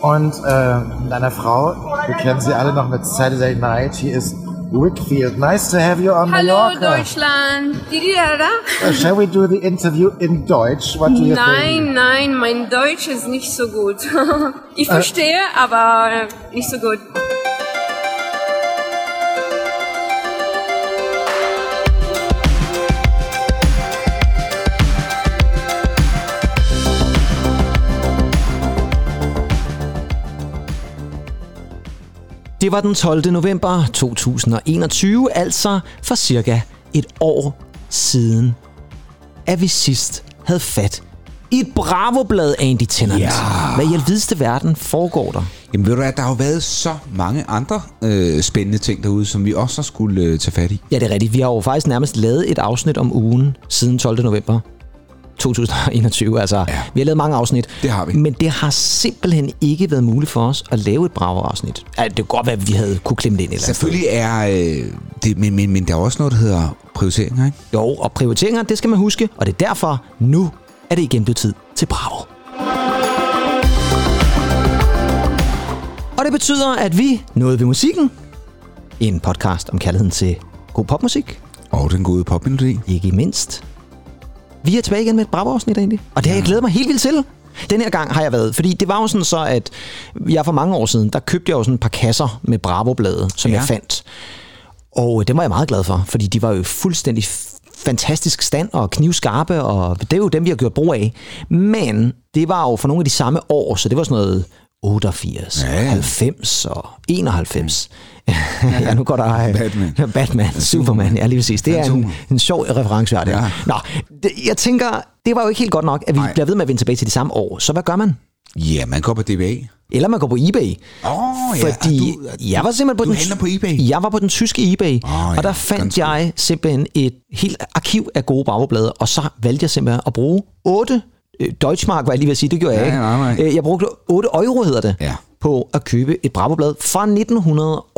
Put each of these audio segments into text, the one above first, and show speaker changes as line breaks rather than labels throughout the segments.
und äh, mit einer Frau. Wir kennen sie alle noch mit Saturday Night. Hier ist Whitfield. Nice to have you on
Hallo
Mallorca.
Deutschland. Die, die, da, da.
Uh, Shall we do the interview in Deutsch? What do you think?
Nein, nein, mein Deutsch ist nicht so gut. Ich verstehe, aber äh, nicht so gut.
Det var den 12. november 2021, altså for cirka et år siden, at vi sidst havde fat i et bravoblad, Andy Tennant.
Ja.
Hvad i alvideste verden foregår der?
Jamen ved du hvad, der har jo været så mange andre øh, spændende ting derude, som vi også har skulle øh, tage fat i.
Ja, det er rigtigt. Vi har jo faktisk nærmest lavet et afsnit om ugen siden 12. november 2021. Altså, ja. vi har lavet mange afsnit.
Det har vi.
Men det har simpelthen ikke været muligt for os at lave et braverafsnit. Altså, det kunne godt være, at vi havde kunne klemme det ind et eller andet sted.
Selvfølgelig er øh, det, men, men, men der er også noget, der hedder prioriteringer, ikke?
Jo, og prioriteringer, det skal man huske, og det er derfor, nu er det igen blevet tid til Bravo. Og det betyder, at vi nåede ved musikken. En podcast om kærligheden til god popmusik,
Og den gode popmelodi.
ikke mindst. Vi er tilbage igen med et bravo-afsnit egentlig, og det har jeg glædet mig helt vildt til. Den her gang har jeg været, fordi det var jo sådan så, at jeg for mange år siden, der købte jeg jo sådan et par kasser med bravo-blade, som ja.
Ja.
jeg fandt. Og det var jeg meget glad for, fordi de var jo i fuldstændig f- fantastisk stand og knivskarpe, og det er jo dem, vi har gjort brug af. Men det var jo for nogle af de samme år, så det var sådan noget 88,
Ja,
ja.
ja.
90 og 91. ja, nu går der... øh,
Batman.
Batman, Superman, ja lige præcis. Det er en,
Fantomer.
en sjov reference, det ja.
Ja.
Nå, det, jeg tænker, det var jo ikke helt godt nok, at vi
Nej.
bliver ved med at vende tilbage til de samme år. Så hvad gør man?
Ja, man går på DBA.
Eller man går på eBay.
Åh, oh, ja.
Fordi
og
du,
Du, og
jeg var simpelthen på
du
den...
handler på eBay?
Jeg var på den tyske eBay,
Åh,
oh,
ja,
og der fandt
ganske
jeg simpelthen et helt arkiv af gode bagblade, og så valgte jeg simpelthen at bruge 8 øh, Deutschmark, var jeg lige ved at sige, det gjorde jeg
Ja,
ikke.
nej, nej.
Øh, Jeg brugte 8 euro, hedder det,
Ja.
på at købe et bravoblad fra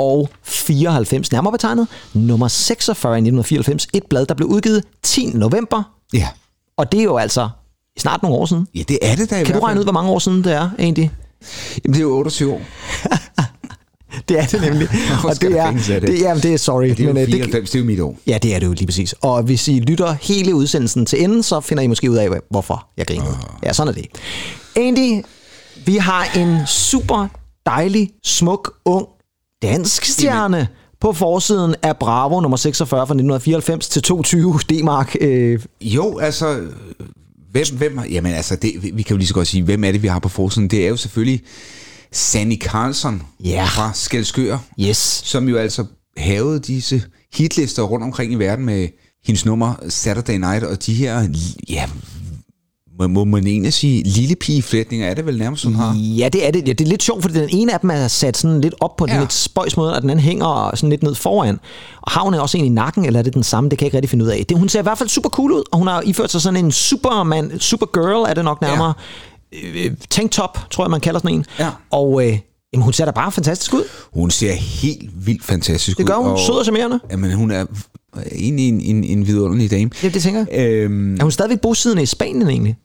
1994, nærmere betegnet, nummer 46 i 1994, et blad, der blev udgivet 10. november,
ja.
og det er jo altså snart nogle år siden.
ja, det er det da i
Kan du regne ud, hvor mange år siden det er egentlig?
Jamen, det er jo 28 år.
Det er det nemlig.
Hvor
og
skal
det
der
er,
findes af
det?
det?
det, jamen, det er sorry.
Det er
men, øh,
jo 94, det er jo mit år.
ja, det er det jo lige præcis. Og hvis I lytter hele udsendelsen til enden, så finder I måske ud af, hvad- hvorfor jeg griner.
Ah.
Ja, sådan er det. Andy, vi har en super dejlig, smuk, ung dansk stjerne på forsiden af Bravo nummer 46 fra 1994 til 220 D-mark. Øh,
Jo, altså... øh, Hvem, hvem, har- jamen altså, det, vi kan jo lige så godt sige, hvem er det, vi har på forsiden? Det er jo selvfølgelig Sandy Carlson
Ja.
fra Skelskør,
yes.
som jo altså havede disse hitlister rundt omkring i verden med hendes nummer Saturday Night, og de her, ja, må, må man egentlig sige, lille pigeflætninger er det vel nærmest, hun har?
Ja, det er det. Ja, det er lidt sjovt, fordi den ene af dem er sat sådan lidt op på ja.
Ja.
en lidt spøjs måde, og den anden hænger sådan lidt ned foran. Og har hun også en i nakken, eller er det den samme? Det kan jeg ikke rigtig finde ud af. Det, hun ser i hvert fald super cool ud, og hun har iført sig sådan en superman, supergirl er det nok nærmere. Ja. Tanktop, tror jeg, man kalder sådan en.
Ja.
Og øh, jamen, hun ser da bare fantastisk ud.
Hun ser helt vildt fantastisk
Mm. Det
ud.
gør hun.
og-
Sød og charmerende.
Jamen, hun er egentlig en, en, en vidunderlig dame.
Ja, det tænker jeg.
Øhm,
Er hun stadigvæk bosiddende i Spanien egentlig?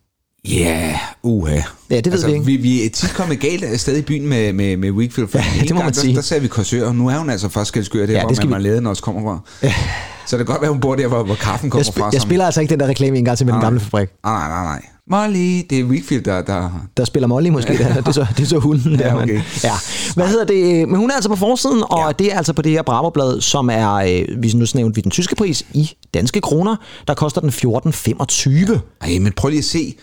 Ja, uha.
Ja, det ved vi ikke.
Altså, Vi, vi er tit kommet galt afsted i byen med, med, med Wakefield. For ja,
det må man
der,
sige.
Der sagde vi Korsør, og nu er hun altså fra Skelskør, der
Ja,
ja, hvor
det skal vi-
man vi... laden også kommer fra. Ja. Så det kan godt være, hun bor der, hvor, hvor kaffen kommer
Jeg, sp-
fra.
jeg
som-
spiller altså ikke den der reklame en gang til med den
Nej.
gamle fabrik.
Ah, nej, nej, nej. Molly, det er Wakefield, der... der...
der spiller Molly måske, der. det, er så, det er så hunden der.
Ja,
mand.
okay.
ja. Hvad hedder det? Men hun er altså på forsiden, og ja. det er altså på det her Bravo-blad, som er, øh, vi nu nævnte vi den tyske pris, i danske kroner, der koster den 14,25.
Ej, men prøv lige at se.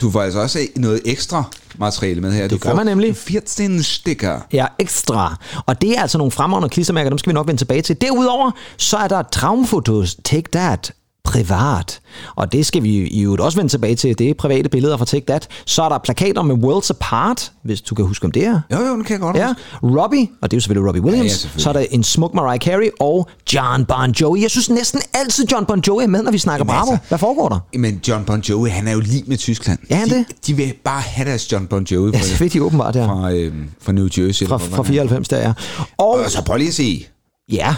Du får altså også noget ekstra materiale med her. Det du
gør man nemlig.
14 stikker.
Ja, ekstra. Og det er altså nogle fremragende klistermærker, dem skal vi nok vende tilbage til. Derudover, så er der Traumfotos Take That privat. Og det skal vi i øvrigt også vende tilbage til. Det er private billeder fra Take That. Så er der plakater med Worlds Apart, hvis du kan huske, om det er.
Jo, jo, den kan jeg godt
Ja,
huske.
Robbie, og det er jo selvfølgelig Robbie Williams. Ja,
Ja,
ja,
ja,
selvfølgelig.
selvfølgelig.
Så er der en smuk Mariah Carey og John Bon Jovi. Jeg synes næsten altid, John Bon Jovi er med, når vi snakker Jamen,
Jamen,
Bravo.
altså.
Hvad foregår der?
Men John Bon Jovi, han er jo lige med Tyskland.
Er han
de,
det?
De vil bare have deres John Bon Jovi øhm,
Ja, det ved de åbenbart, ja.
fra, øh, fra New Jersey.
Fra,
eller hvor
fra
var han er.
94, der er. Og
Og så prøv lige at se.
Ja,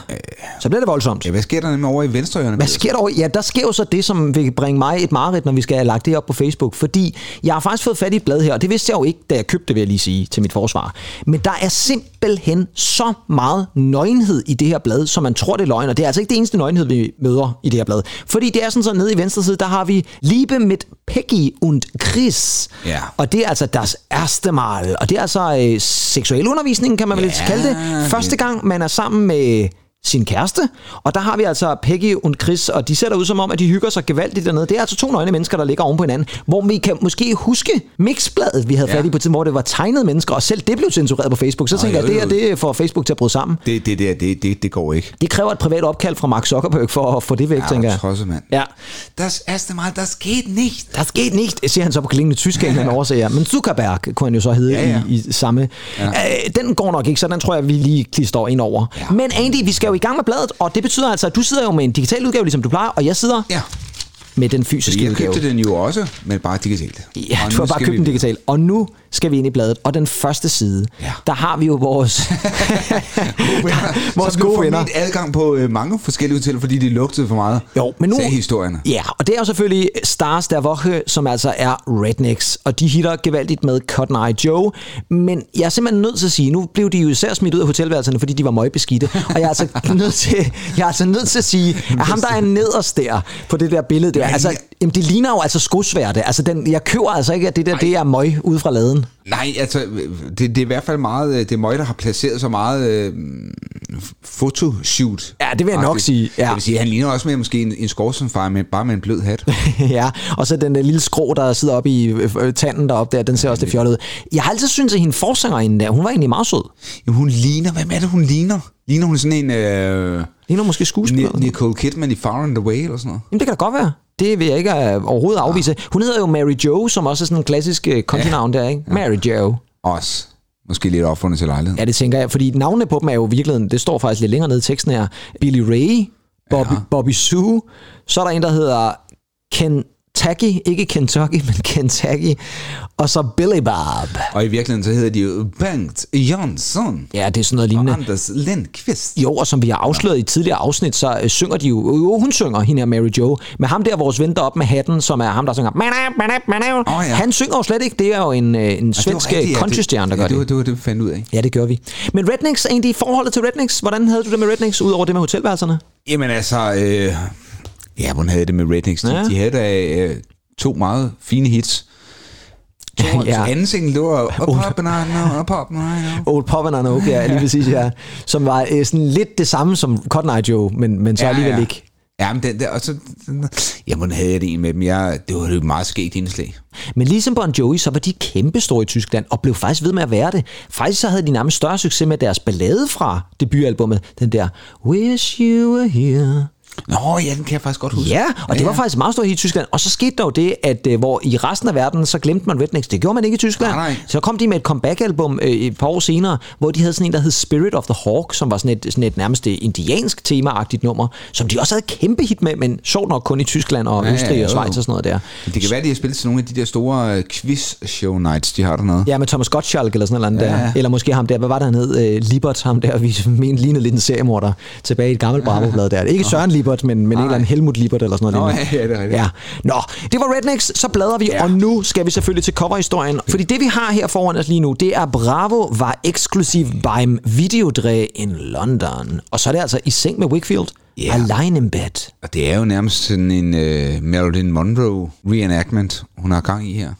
så bliver det voldsomt.
Ja, hvad sker der nemlig over i venstre hjørne?
Hvad sker der over? Ja, der sker jo så det, som vil bringe mig et mareridt, når vi skal have lagt det op på Facebook. Fordi jeg har faktisk fået fat i et blad her, og det vidste jeg jo ikke, da jeg købte det, vil jeg lige sige, til mit forsvar. Men der er simpelthen så meget nøgenhed i det her blad, som man tror, det er løgn. Og det er altså ikke det eneste nøgenhed, vi møder i det her blad. Fordi det er sådan så nede i venstre side, der har vi Liebe mit Peggy und Chris.
Ja.
Og det er altså deres erste mal. Og det er altså øh, seksuel undervisning, kan man vel
Ja,
ja, kalde det.
det-
Første gang, man er sammen med sin kæreste, og der har vi altså Peggy og Chris, og de ser der ud som om, at de hygger sig gevaldigt dernede. Det er altså to nøgne mennesker, der ligger oven på hinanden, hvor vi kan måske huske mixbladet, vi havde
Ja.
fat i på tiden, hvor det var tegnede mennesker, og selv det blev censureret på Facebook. Så tænker
jo,
jeg, det her
jo.
det får Facebook til at bryde sammen.
Det, det der, det, det, det går ikke.
Det kræver et privat opkald fra Mark Zuckerberg for at få det væk, ja, tænker jeg.
Trosse, mand.
Ja.
Das erste Mal, das geht nicht.
Der skete nicht, siger han så på klingende tysk, ja. han overser. Men Zuckerberg kunne han jo så hedde
Ja,
ja,
ja.
ja. I, i samme. Ja. Øh, den går nok ikke, så den tror jeg, vi lige klister ind over. Ja. Men Andy, vi skal jo i gang med bladet, og det betyder altså, at du sidder jo med en digital udgave, ligesom du plejer, og jeg sidder ja.
Ja,
med den fysiske
jeg
udgave.
købte den jo også, men bare digitalt.
Ja,
Og
du
nu
har bare
skal
købt
vi-
den digitalt. Og nu skal vi ind i bladet. Og den første side,
Ja.
ja. der har vi jo vores, der, vores
Som du
gode
formentlig
venner.
adgang på øh, mange forskellige hoteller, fordi de lugtede for meget.
Jo, men nu...
Sagde historierne.
Ja, og det er jo selvfølgelig Stars der Woche, som altså er Rednecks, og de hitter gevaldigt med Cotton Eye Joe, men jeg er simpelthen nødt til at sige, nu blev de jo især smidt ud af hotelværelserne, fordi de var møgbeskidte, og jeg er altså nødt til, jeg er altså nødt til at sige, at ham der er nederst der på det der billede, det, er, altså, jamen, det ligner jo altså skosværte, altså den, jeg køber altså ikke, at det der, det er møg ude fra laden.
Nej, altså, det, det er i hvert fald meget, øh, det er mig, der har placeret så meget øh, fotoshoot.
Ja, det vil jeg nok sige, ja.
Jeg vil sige, han ligner også mere måske en, en skorstenfar, men bare med en blød hat.
ja, og så den der lille skrå, der sidder oppe i øh, øh, tanden deroppe der, den ser også det fjollet ud. Jeg har altid syntes, at hende forsangerinde der, hun var egentlig meget sød.
Jamen, hun ligner, hvem er det, hun ligner? Ligner hun sådan en øh,
Ligner måske skuespiller.
Ni- Nicole Kidman i Far and Away eller sådan noget?
Jamen, det kan da godt være. Det vil jeg ikke øh, overhovedet
Ah.
afvise. Hun hedder jo Mary Jo, som også er sådan en klassisk øh, kontinavn der, ikke? Mary Jo.
Også. Måske lidt opfundet til lejligheden.
Ja, det tænker jeg, fordi navnene på dem er jo i virkeligheden, det står faktisk lidt længere nede i teksten her. Billy Ray, Bobby, ja. Bobby Sue, så er der en, der hedder Kentucky, ikke Kentucky, men Kentucky, og så Billy Bob.
Og i virkeligheden så hedder de jo Bengt Jonsson
Ja, det er sådan noget
og
lignende.
Anders Lindqvist.
Jo, og som vi har afsløret i tidligere afsnit, så øh, synger de jo, jo, hun synger, hende her Mary Jo, men ham der, vores ven deroppe med hatten, som er ham, der synger, manap, manap, manap,
Åh,
oh,
ja.
ja. han synger jo slet ikke, det er jo en, øh, en
Og det var
svensk
rigtigt, ja, det-
countrystjerne, der gør
ja, det. var-
det.
Det var det, vi fandt ud af.
Ja, det gør vi. Men Rednecks, egentlig forholdet til Rednecks, hvordan havde du det med Rednecks, udover det med hotelværelserne?
Jamen altså, øh, ja, hvordan havde jeg det med Rednecks? Ja.
Ja.
De havde da øh, to meget fine hits. To, ja.
Ja.
Anden single, det var Up Up and I Know, Up Up and I Know.
Old Pop and Anoke, ja, lige præcis, ja. Som var øh, sådan lidt det samme som Cotton Eye Joe, men, men så
Ja,
ja, alligevel
ja.
ikke.
Ja, men den der, og så, ja, hvordan havde jeg det egentlig med dem? Jeg, det var jo et meget skægt indslag.
Men ligesom Bon Jovi, så var de kæmpestore i Tyskland, og blev faktisk ved med at være det. Faktisk så havde de nærmest større succes med deres ballade fra debutalbummet, den der Wish You Were Here.
Nå, ja, den kan jeg faktisk godt huske.
Ja, og det var faktisk meget stort i Tyskland. Og så skete der jo det, at øh, hvor i resten af verden, så glemte man Rednecks. Det gjorde man ikke i Tyskland.
Nej, nej.
Så kom de med et comeback-album øh, et par år senere, hvor de havde sådan en, der hed Spirit of the Hawk, som var sådan et, sådan et nærmest øh, indiansk temaagtigt nummer, som de også havde et kæmpe hit med, men sjovt nok kun i Tyskland og
ja,
Østrig
jo,
og
jo.
Schweiz og sådan noget der.
Det kan være, de har spillet til nogle af de der store øh, quiz-show nights, de har dernede.
Ja, med Thomas Gottschalk eller sådan noget ja.
Ja.
der. Eller måske ham der, hvad var det han hed? Øh, Libert, ham der, vi mente lignede lidt en seriemorder tilbage i et gammelt bravo der. Ikke Søren Libert, men, men en eller anden Helmut Libert eller sådan noget.
Nå,
lignende.
ja, ja, det er rigtigt.
Ja. Nå, det var Rednecks, så bladrer vi,
Ja.
ja. og nu skal vi selvfølgelig til coverhistorien. Fordi det vi har her foran os lige nu, det er Bravo var eksklusiv beim Videodre in London. Og så er det altså i seng med Wakefield.
Ja.
Alene in bed.
Og det er jo nærmest sådan en øh, Marilyn Monroe reenactment, hun har gang i her.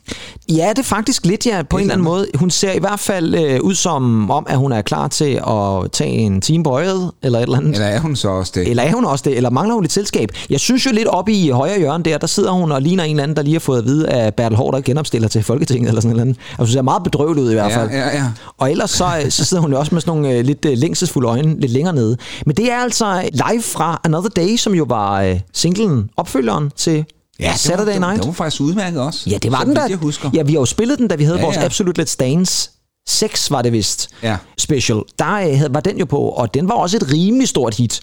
Ja, det er faktisk lidt, ja, på en eller anden måde. Hun ser i hvert fald øh, ud som om, at hun er klar til at tage en time på øjet, eller et eller andet.
Eller er hun så også det?
Eller er hun også det? Eller mangler hun lidt selskab? Jeg synes jo lidt oppe i højre hjørne der, der sidder hun og ligner en eller anden, der lige har fået at vide, at Bertel Hård der genopstiller til Folketinget eller sådan noget. Jeg synes, er meget bedrøvet ud i hvert
Ja,
fald.
ja, ja.
Og ellers så, øh, så sidder hun jo også med sådan nogle øh, lidt øh, længselsfulde øjne lidt længere nede. Men det er altså live fra Another Day, som jo var øh, singlen, opfølgeren til ja,
det var-
Saturday
det var,
Night.
Det var faktisk udmærket også.
Ja, det var
så
den
vidt
der.
Jeg husker.
Ja, vi har jo spillet den, da vi havde
Ja,
ja, vores
ja.
ja. Absolute Let's Dance 6, var det vist.
Ja.
Special. Der øh, havde- var den jo på, og den var også et rimelig stort hit.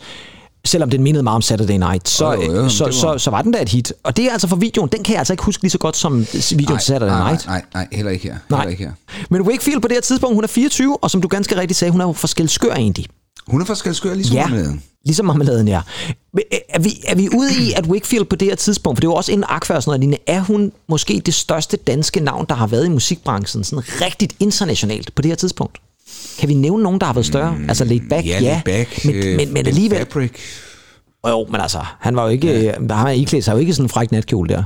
Selvom den mindede meget om Saturday Night, så,
Jo, jo, jo,
øh,
men
så,
det var-
så, så var den da et hit. Og det er altså for videoen, den kan jeg altså ikke huske lige så godt som videoen til Saturday
nej,
Night.
Nej, nej, nej, heller ikke her. Heller ikke her.
Men Wakefield på det her tidspunkt, hun er 24, og som du ganske rigtigt sagde, hun er jo for skældskør egentlig.
Hun er fra Skalskør, ligesom
Ja,
ja. med.
ligesom marmeladen, ja. Men, øh, Er vi, er vi ude i, at Wakefield på det her tidspunkt, for det var også inden Aqua og sådan noget lignende, er hun måske det største danske navn, der har været i musikbranchen, sådan rigtigt internationalt på det her tidspunkt? Kan vi nævne nogen, der har været større? Mm, altså Laid Back, ja.
Ja, ja. Back,
men,
øh,
men, men
Bent
alligevel...
Fabric.
Jo, men altså, han var jo ikke... Ja. Han har iklædt sig jo ikke i sådan en fræk natkjole der.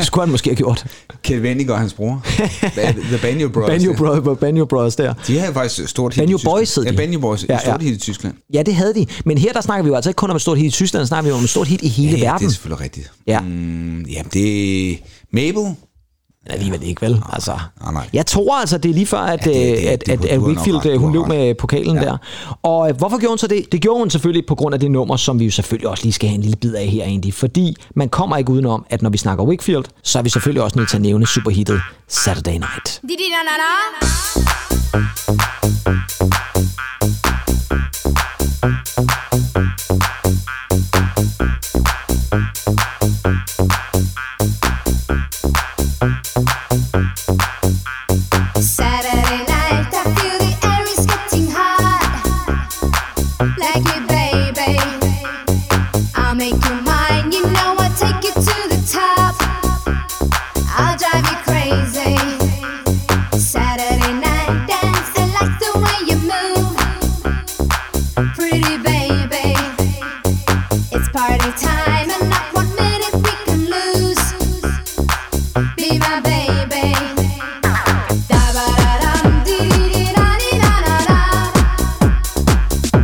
Skulle han måske have gjort.
Kjeld Wendinger og hans bror. Ba- The Banjo Brothers.
Banjo
ja.
Brothers, Banjo Brothers der.
De havde faktisk stort hit
Banjo
i Tyskland.
Boys hed de.
Ja, Banjo Boys.
Ja,
Ja, stort
ja.
hit i Tyskland.
Ja, det havde de. Men her der snakker vi jo altså ikke kun om et stort hit i Tyskland, der snakker vi jo om et stort hit i hele
Ja, det
verden.
er selvfølgelig rigtigt.
Ja.
Mm, jamen, det er Mabel.
Men alligevel ikke, vel? Altså,
nej, nej.
Jeg tror altså, det er lige før, at, ja,
det- det-
at,
det-
at,
du
at
har nok
Whitfield
ret,
øh,
du
hun
har
løb
ret.
med pokalen ja. der. Og øh, hvorfor gjorde hun så det? Det gjorde hun selvfølgelig på grund af det nummer, som vi jo selvfølgelig også lige skal have en lille bid af her egentlig. Fordi man kommer ikke udenom, at når vi snakker Wakefield, så er vi selvfølgelig også nødt til at nævne superhittet Saturday Night.
Saturday night, I feel the air is getting hot. Like it, baby. I'll make you mine, you know I'll take you to the top. I'll drive you crazy. Saturday night dance, I like the way you move. Pretty baby. It's party time, and not one minute we can lose. Be my baby.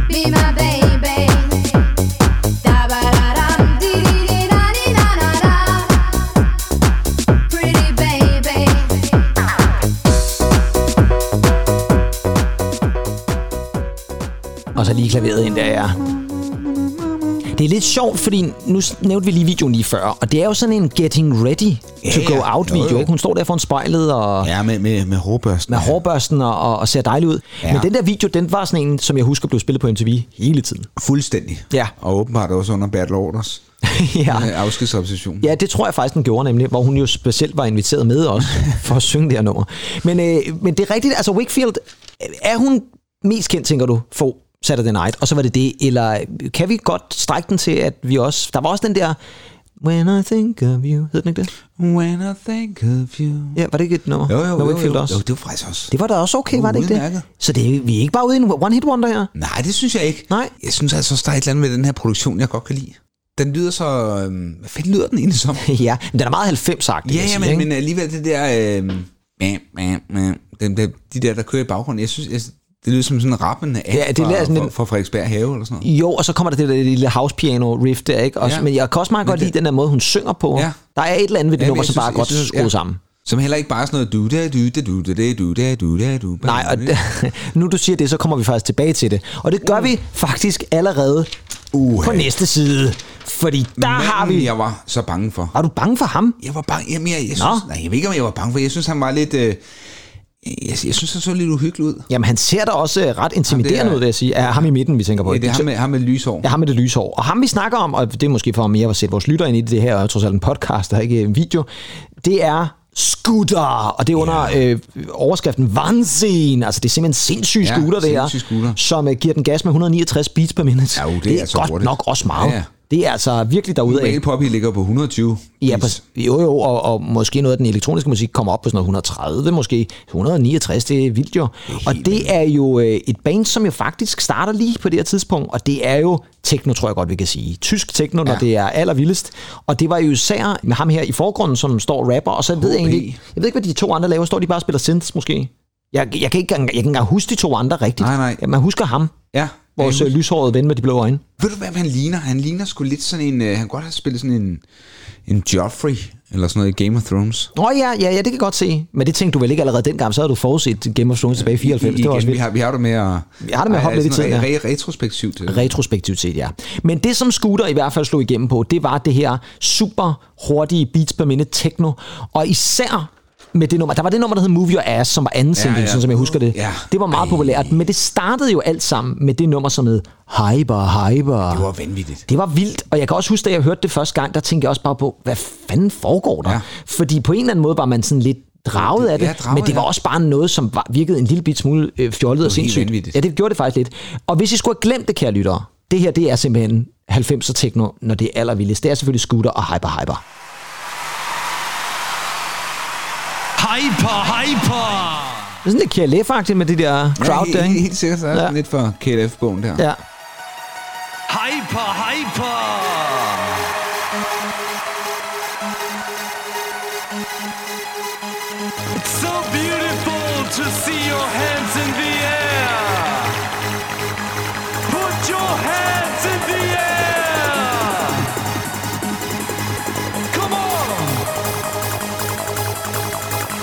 Be my baby. Pretty baby.
Og så lige klaveret ind der, ja. Det er lidt sjovt, fordi nu s- nævnte vi lige videoen lige før, og det er jo sådan en getting ready
Ja,
to go
ja.
out
Jo, jo.
video, ikke? Hun står der foran spejlet og
Ja, med, med, med hårbørsten.
med hårbørsten og, og- og ser dejlig ud. Ja.
Ja.
Men den der video, den var sådan en, som jeg husker blev spillet på MTV hele tiden.
Fuldstændig.
Ja.
Og åbenbart også under Battle Orders. øh,
ja.
Ja. Afskedsobsession.
ja, det tror jeg faktisk, den gjorde nemlig, hvor hun jo specielt var inviteret med også for at synge det her nummer. Men, øh, men det er rigtigt, altså Wakefield, øh, er hun mest kendt, tænker du, for Saturday Night, og så var det det, eller kan vi godt strække den til, at vi også, der var også den der, When I Think of You, hed den ikke det?
When I think of you.
Ja, var det ikke et nummer?
Jo, jo, jo,
med
jo,
Wakefield
jo.
også?
jo det var faktisk også.
Det var da også okay,
Det var
var det ikke det?
udmærket.
Så det, vi er ikke bare ude i en one-hit wonder her?
Nej, det synes jeg ikke.
Nej.
Jeg synes altså også, der er et eller andet med den her produktion, jeg godt kan lide. Den lyder så... Øh, hvad fanden lyder den egentlig som?
ja, men den er meget 90-agtig.
ja,
vil jeg
ja,
sige, ikke?
men, men alligevel det der... Øh, mæ, mæ, mæ, den der, de der, der kører i baggrunden. Jeg synes, jeg, det lyder som sådan en rappende af
Ja, det lyder
fra,
sådan
fra,
en-
fra Frederiksberg Have eller sådan noget.
Jo, og så kommer der det der lille house piano riff der, ikke? Også, ja.
Ja.
Men jeg kan også meget godt
det-
lide den der måde, hun synger på.
Ja.
Der er et eller andet ved det
Ja,
ja,
men
nummer,
jeg
som
synes-
bare er
jeg
godt
synes-
skruet
ja.
sammen.
Som heller ikke bare sådan noget du da du da du da da du da du da du
Nej, og nu du siger det, så kommer vi faktisk tilbage til det. Og det gør uh. vi faktisk allerede uh, på næste side. Fordi der har vi...
Jeg var så bange for.
Er du bange for ham?
Jeg var bange. Jamen, jeg, jeg, synes, nej, jeg ved ikke, om jeg var bange for. Jeg synes, han var lidt... Øh, jeg, jeg synes, han så lidt uhyggelig ud.
Jamen, han ser da også øh, ret intimiderende
er-
ud, vil jeg sige. Er ham i midten, vi tænker på.
Ja, det er ham med, ham med lyshår.
Ja, ham med det lyse hår. Og ham vi snakker om, og det er måske for mere at sætte vores lytter ind i det, det her er jo trods alt en podcast, der er ikke en video, det er Scooter, og det er under yeah. øh, overskriften Vansin. Altså det er simpelthen sindssyge
Ja,
scooter, det er,
sindssyge scooter.
som øh, giver den gas med 169 beats per minute.
Ja, jo, det er
det er
altså
godt
hurtigt.
nok også meget.
Ja, ja.
Det er altså virkelig derude af.
Male Poppy ligger på 120.
Ja,
Please.
præcis. jo jo, og, og måske noget af den elektroniske musik kommer op på sådan noget 130, måske 169, det er vildt jo. Og det er jo øh, et band, som jo faktisk starter lige på det her tidspunkt, og det er jo techno, tror jeg godt, vi kan sige. Tysk techno, når ja. det er allervildest. Og det var jo især med ham her i forgrunden, som står og rapper, og så ved jeg
HP.
egentlig, ikke- jeg ved ikke, hvad de to andre laver. Står de bare og spiller synths måske? Jeg, jeg, kan ikke, engang- jeg kan ikke engang huske de to andre rigtigt.
Nej, nej.
Ja, Man husker ham,
Ja.
vores
Ja,
øh, lyshårede ven med de blå øjne.
Ved du, hvad han ligner? Han ligner sgu lidt sådan en... Øh, han kunne godt have spillet sådan en... En Joffrey, eller sådan noget i Game of Thrones.
Nå ja, ja, ja, det kan jeg godt se. Men det tænkte du vel ikke allerede dengang, så havde du forudset Game of Thrones tilbage i 94. det var også
Igen, vi
vildt.
har, vi har det med at... altså,
Vi har det med at hoppe lidt i
sådan
tiden,
re- re- Retrospektivt. øh. til det.
Retrospektivt set, ja. Men det, som Scooter i hvert fald slog igennem på, det var det her super hurtige beats per minute techno. Og især med det nummer. Der var det nummer, der hed Move Your Ass, som var anden single, ja, ja.
ja.
sådan som jeg husker det.
Ja.
Det var meget Ej. populært, men det startede jo alt sammen med det nummer, som hed Hyper, Hyper.
Det var vanvittigt.
Det var vildt, og jeg kan også huske, da jeg hørte det første gang, der tænkte jeg også bare på, hvad fanden foregår der? Ja.
Ja.
Fordi på en eller anden måde var man sådan lidt, draget af det,
Ja, draget,
men det var
ja.
også bare noget, som var, virkede en lille bit smule øh, fjollet og
helt
sindssygt.
vanvittigt.
Ja, det gjorde det faktisk lidt. Og hvis I skulle have glemt det, kære lyttere, det her det er simpelthen 90'er techno, når det er allervildest. Det er selvfølgelig Scooter og Hyper Hyper.
Hyper, hyper!
Det er sådan lidt KLF-agtigt med det der crowd
ja,
der,
helt,
ikke?
helt sikkert, så er
Ja.
ja. lidt for KLF-bogen der.
Ja.
Hyper, hyper! It's so beautiful to see your hands in the air. Put your hands in the air. Come on.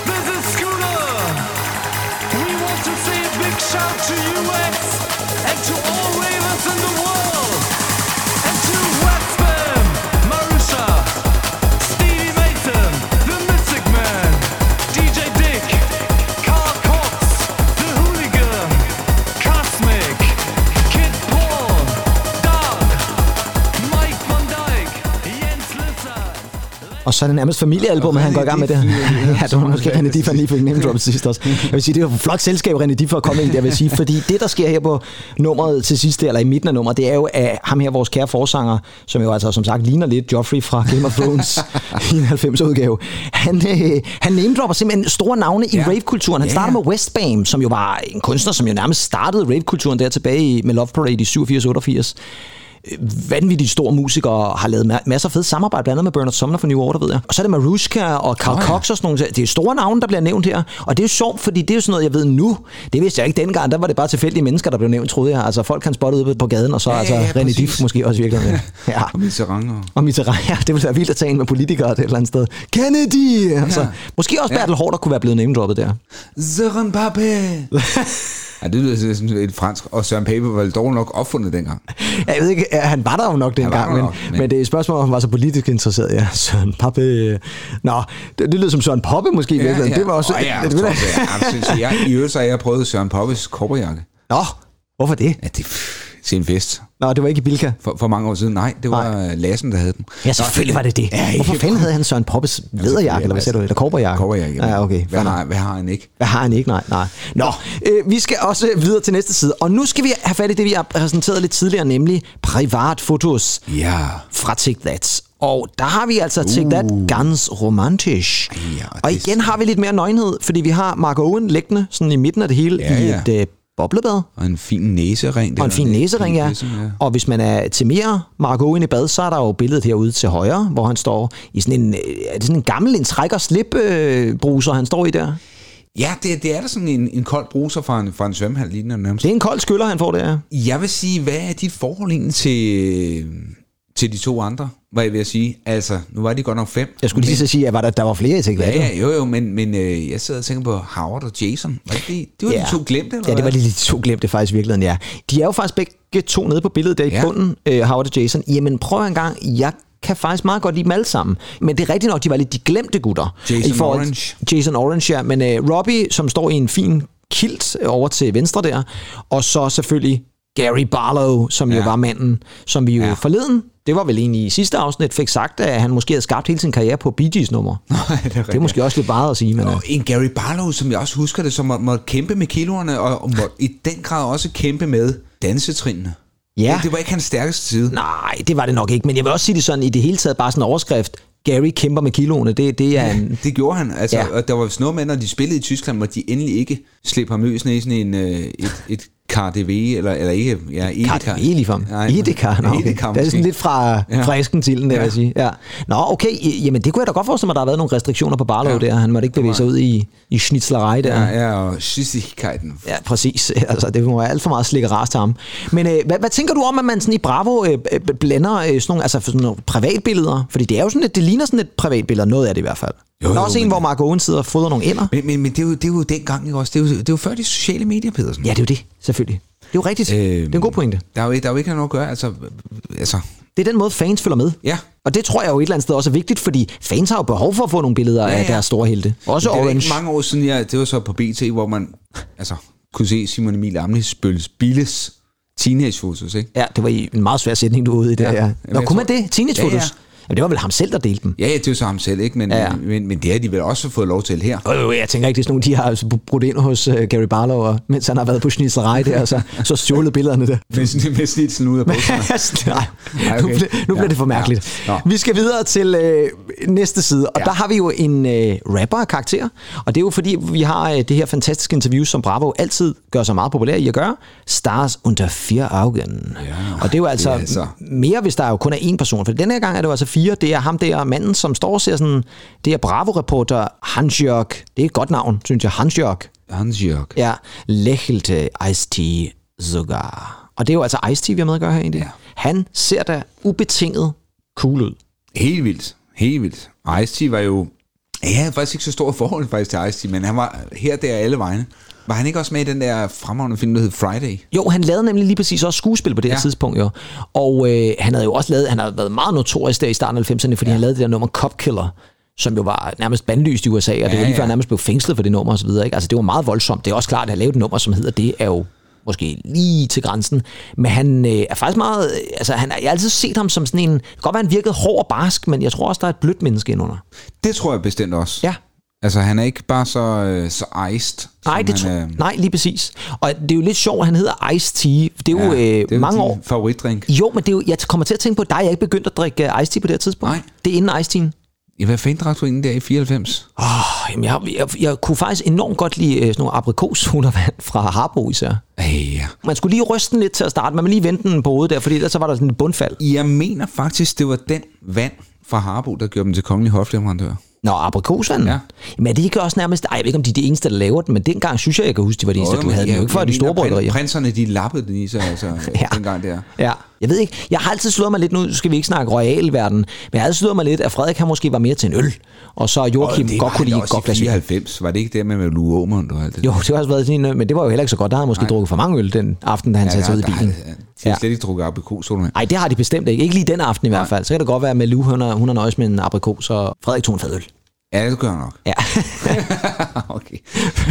This is Scooter. We want to say a big shout to UX and to all ravers in the world. And to Westman, Marusha, Stevie Mason, The Mystic Man, DJ Dick, Carl Cox, The Hooligan, Cosmic, Kid Paul, Doug, Mike Van Dyke, Jens Lissard.
Og så er det nærmest familiealbum,
Og
han går i gang med det.
René Dif, øh,
ja, det var måske
fantastisk.
René Diff, han lige fik name drop sidst også. Jeg vil sige, det er jo et flot selskab, René Diff, for at komme ind der, vil jeg sige. Fordi det, der sker her på nummeret til sidst, eller i midten af nummeret, det er jo, at ham her, vores kære forsanger, som jo altså som sagt ligner lidt Joffrey fra Game of Thrones i en 90-udgave, han, øh, han name-dropper simpelthen store navne i
Ja.
rave-kulturen. Han
Ja,
starter
ja.
med Westbam, som jo var en kunstner, som jo nærmest startede rave-kulturen der tilbage i, med Love Parade i 87-88 Øh, vanvittigt stor musiker og har lavet ma- masser af fede samarbejde, blandt andet med Bernard Sumner fra New Order, ved jeg. Og så er det Marushka og Carl oh,
Nå,
ja.
ja.
Cox og sådan nogle. Det er store navne, der bliver nævnt her. Og det er jo sjovt, fordi det er jo sådan noget, jeg ved nu. Det vidste jeg ikke dengang. Der var det bare tilfældige mennesker, der blev nævnt, troede jeg. Altså folk kan spotte ude på gaden, og så ja,
ja,
altså
ja,
René Diff
præcis.
måske også i virkeligheden. Ja.
Og min serang og...
Og mit ja, det ville være vildt at tage en med politikere det et eller andet sted. Kennedy! Altså, ja.
Ja.
Måske også Bertel Hård, der kunne være blevet name-droppet der.
Søren Pape! ja, det lyder sådan lidt fransk. Og Søren Pape var vel dog nok opfundet dengang.
Jeg ved ikke, ja, han var der jo nok
var
dengang,
der
men,
nok,
men,
men-
men det er et spørgsmål, om han var så politisk interesseret. Ja, Søren Pappe. Nå, det, det lød som Søren Poppe måske i virkeligheden. Det var også...
Åh, ja,
det,
det,
det,
det, det, jeg, I øvrigt så har jeg prøvet Søren Poppes kobberjakke.
Nå, hvorfor det?
Ja, det er til en fest.
Nå, det var ikke i Bilka.
For, for mange år siden. Nej, det var Nej. Lassen, der havde den.
Ja, selvfølgelig var det det.
Ja,
Hvorfor fanden havde han Søren Poppes lederjakke, eller hvad sagde du? Eller korperjakke?
Kobberjakke.
Ja, okay.
Hvad
fair nok.
har, hvad har han ikke?
Hvad har han ikke? Nej, nej. Nå, øh, vi skal også videre til næste side. Og nu skal vi have fat i det, vi har præsenteret lidt tidligere, nemlig privatfotos.
Ja.
fra Take That. Og der har vi altså Take That ganz romantisk.
Ja, og
og
det-
igen har vi lidt mere nøgenhed, fordi vi har Mark Owen liggende sådan i midten af det hele
Ja,
i
ja.
et øh, boblebad.
Og en fin næsering. Det
Og en
var
fin næsering, ja.
næsering,
Og hvis man er til mere Mark Owen i bad, så er der jo billedet herude til højre, hvor han står i sådan en, øh, er det sådan en gammel en træk- og slip-bruser, han står i der.
Ja, det, det er da sådan en, en kold bruser fra en, fra en svømmehal lignende nærmest.
Det er en kold skyller, han får der.
Jeg vil sige, hvad er dit forhold egentlig til, til de to andre, hvad jeg vil sige? Altså, nu var de godt nok fem.
Jeg skulle lige så sige, at var der, der var flere i Take That.
Ja,
jo.
ja, jo, jo, men, men øh, jeg sidder og tænker på Howard og Jason. Var det, det var de to glemte, eller
Ja, det var
hvad?
de, de to glemte faktisk i virkeligheden, ja. De er jo faktisk begge to nede på billedet der i ja.
Ja.
bunden, øh, Howard og Jason. Jamen prøv en gang, jeg kan faktisk meget godt lide dem alle sammen. Men det er rigtigt nok, de var lidt de glemte gutter.
Jason
I forhold-
Orange.
Jason Orange, ja. Men øh, Robbie, som står i en fin kilt over til venstre der. Og så selvfølgelig Gary Barlow, som ja. jo
Ja.
var manden, som vi jo ja. forleden, det var vel egentlig i sidste afsnit, fik sagt, at han måske havde skabt hele sin karriere på Bee Gees nummer.
det er
Det er
rigtigt.
måske også lidt meget at sige, men... øh,
Og en Gary Barlow, som jeg også husker det, som må, måtte kæmpe med kiloerne, og, og måtte i den grad også kæmpe med dansetrinene.
Ja.
Det var ikke hans stærkeste side.
Nej, det var det nok ikke. Men jeg vil også sige det sådan, i det hele taget bare sådan en overskrift. Gary kæmper med kiloene. Det, det er en...
Det gjorde han. Altså,
Ja.
ja. Og der var vist noget med, når de spillede i Tyskland, hvor de endelig ikke slæb ham løs ned i sådan en, øh, et, et KDV, eller, eller ikke, ja, Edeka.
Edeka. E Ligefrem.
Nej,
Edeka. Nå, okay.
Edeka
Det er sådan
måske.
lidt fra
Ja.
ja. æsken til den, jeg
Ja.
vil sige. Ja. Nå, okay. I- Jamen, det kunne jeg da godt forestille mig, at der har været nogle restriktioner på Barlow ja.
Ja.
der. Han måtte ikke bevæge sig ud i, i schnitzlerei der.
Ja, ja, og Schissigkeiten.
Ja, præcis. Altså, det må være alt for meget slik og ras til ham. Men øh, hvad, hvad tænker du om, at man sådan i Bravo øh, øh, blander øh, sådan nogle, altså, sådan nogle privatbilleder? Fordi det er jo sådan lidt, det ligner sådan et privatbillede, noget af det i hvert fald. Jo,
Jo,
jo, der er
jo,
også en,
men-
hvor Mark Owen sidder og fodrer nogle ender.
Men, men, men det, er jo, det er jo dengang, ikke også? Det er jo, det er jo før de sociale medier, Pedersen.
Ja, det er jo det, selvfølgelig. Det er jo rigtigt. Øh,
Øhm.
det er en god pointe.
Der er jo, der er jo ikke noget at gøre, altså... altså
Det er den måde, fans følger med.
ja.
Og det tror jeg jo et eller andet sted også er vigtigt, fordi fans har jo behov for at få nogle billeder ja, ja.
Ja,
af
ja.
deres store helte. Også
det er da
Orange.
ikke mange år siden, jeg, det var så på BT, hvor man altså, kunne se Simon Emil Amnesbøls Billes teenagefotos, ikke?
Ja, det var i en meget svær sætning, du var ude i det
Ja.
ja. her.
Jamen,
Nå,
jeg
kunne man
tror-
det? Teenagefotos?
Ja,
Ja,
ja.
ja. Jamen, det var vel ham selv, der delte dem.
Ja, ja, det er jo så ham selv, ikke? Men,
Ja.
ja. men, men det har de vel også fået lov til her.
Øh, jeg tænker ikke, det er sådan nogle, de har altså brudt ind hos uh, Gary Barlow, og, mens han har været på schnitzerej der, og så, så stjålet billederne der.
Med, med snitsen ud af bukserne.
Altså, Nej,
Nej,
nu,
okay.
bliver, nu bliver
Ja,
det for mærkeligt.
ja. Nå.
Vi skal videre til øh, næste side, og ja. der har vi jo en øh, rapper af karakter, og det er jo fordi, vi har øh, det her fantastiske interview, som Bravo altid gør sig meget populær i at gøre, Stars under fire Augen. Ja, og det er jo altså,
det er altså-
mere, hvis der jo kun er én person, for den her gang er det jo altså fire, det er ham der, manden, som står og ser sådan, det er Bravo-reporter Hansjørk, det er et godt navn, synes jeg, Hansjørk.
Hans Jørg.
Ja, læchelte Ice-T sogar. Og det er jo altså Ice-T, vi har med at gøre her egentlig. Ja.
Ja.
Han ser da ubetinget cool ud.
Helt vildt. Helt vildt. Og Ice-T var jo... Ja, jeg havde faktisk ikke så stort forhold faktisk til Ice-T, men han var her, der, alle vegne. Var han ikke også med i den der fremragende film, der hed Friday?
Jo, han lavede nemlig lige præcis også skuespil på det her ja.
Ja.
tidspunkt, jo. Og øh, han havde jo også lavet, han havde været meget notorisk der i starten af 90'erne, fordi ja. han lavede det der nummer Cop Killer, som jo var nærmest bandlyst i USA, og det ja,
Ja,
var lige før
ja.
han nærmest blev fængslet for det nummer osv. Altså, det var meget voldsomt. Det er også klart, at han lavede et nummer, som hedder det, er jo måske lige til grænsen. Men han øh, er faktisk meget... øh, Altså, han, jeg har altid set ham som sådan en... Det kan godt være, han virkede hård og barsk, men jeg tror også, der er et blødt menneske indenunder.
Det tror jeg bestemt også.
Ja.
Altså, han er ikke bare så, øh, så iced.
Nej,
som
det
han, øh,
tror, nej, lige præcis. Og det er jo lidt sjovt, at han hedder Ice-T. Det er jo, ja, øh,
det er jo
mange
din
år...
favoritdrink.
Jo, men det er jo, jeg kommer til at tænke på dig. Jeg er ikke begyndt at drikke øh, iced tea på det her tidspunkt.
Nej.
Det er inden iced teen.
Ja, hvad fanden drak du inden der i 94?
Oh, jamen, jeg, jeg, jeg, kunne faktisk enormt godt lide øh, sådan nogle aprikoshundervand fra Harbo især.
Ej, ja.
Man skulle lige ryste den lidt til at starte. Man ville lige vente den på hovedet der, fordi ellers så var der sådan et bundfald.
Jeg mener faktisk, det var den vand fra Harbo, der gjorde dem til kongelig hofleverandør.
Nå, aprikosvand?
Ja.
Men er det ikke også nærmest... Ej, jeg ved ikke, om de er de eneste, der laver den, men dengang synes jeg, jeg kan huske, de var de eneste,
Nå,
der
men
havde den.
ja,
Jo ikke for
jeg
de
mener,
store
prin-
bryggerier.
Prinserne, de lappede den i sig, altså, ja. dengang der.
Ja. Jeg ved ikke, jeg har altid slået mig lidt, nu skal vi ikke snakke royalverden, men jeg har altid slået mig lidt, at Frederik han måske var mere til en øl, og så Joachim
det
godt kunne
var han
lide
da
et godt
også i
glas vin.
94, var det ikke det med, med Lue Aumund og alt det
Jo, det var også været sådan en, men det var jo heller ikke så godt. Der har han måske Nej. drukket for mange øl den aften, da han ja, satte sig ud i bilen.
Ja, de
Ja.
har slet ikke drukket aprikos, så
Nej, det har de bestemt ikke. Ikke lige den aften i hvert fald. Så kan det godt være, at Malou, hun har, hun har nøjes med en aprikos, og Frederik tog en fadøl.
Ja, det gør jeg nok.
Ja.
okay.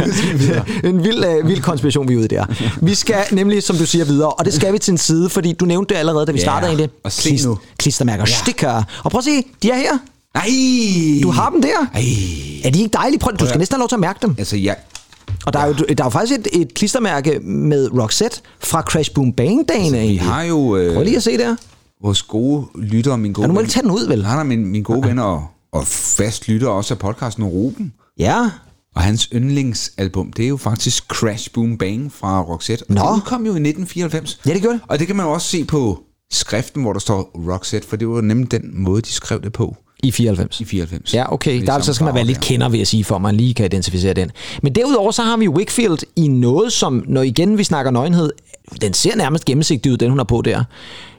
Nu skal vi videre.
en vild, øh, vild konspiration, vi er ude der. Vi skal nemlig, som du siger, videre, og det skal vi til en side, fordi du nævnte det allerede, da vi
Ja,
startede egentlig.
og se nu.
Klistermærker, ja. stikker. Og prøv at se, de er her.
Nej!
Du har dem der.
Ej!
Er de ikke dejlige? Prøv, du skal
at-
næsten have lov til at mærke dem.
Altså, jeg...
Og der er jo, der er jo faktisk et, et klistermærke med Roxette fra Crash Boom Bang dagen
Vi
altså,
har jo øh,
Prøv lige at se der.
vores gode lyttere, min gode
Ja, nu må
ven-
du tage den ud, vel?
Nej, nej, min, min gode venner og, og fast lytter også af podcasten Ruben.
Ja.
Og hans yndlingsalbum, det er jo faktisk Crash Boom Bang fra Roxette. Og
Nå.
det udkom jo i 1994.
Ja, det gjorde det.
Og det kan man jo også se på skriften, hvor der står Roxette, for det var nemlig den måde, de skrev det på
I 94.
i 94.
Ja, okay.
Med
Der,
samme
så skal man være
farve
lidt
der.
kender, vil jeg sige, for at man lige kan identificere den. Men derudover så har vi Wickfield i noget, som, når igen vi snakker nøgenhed, den ser nærmest gennemsigtig ud, den hun har på der.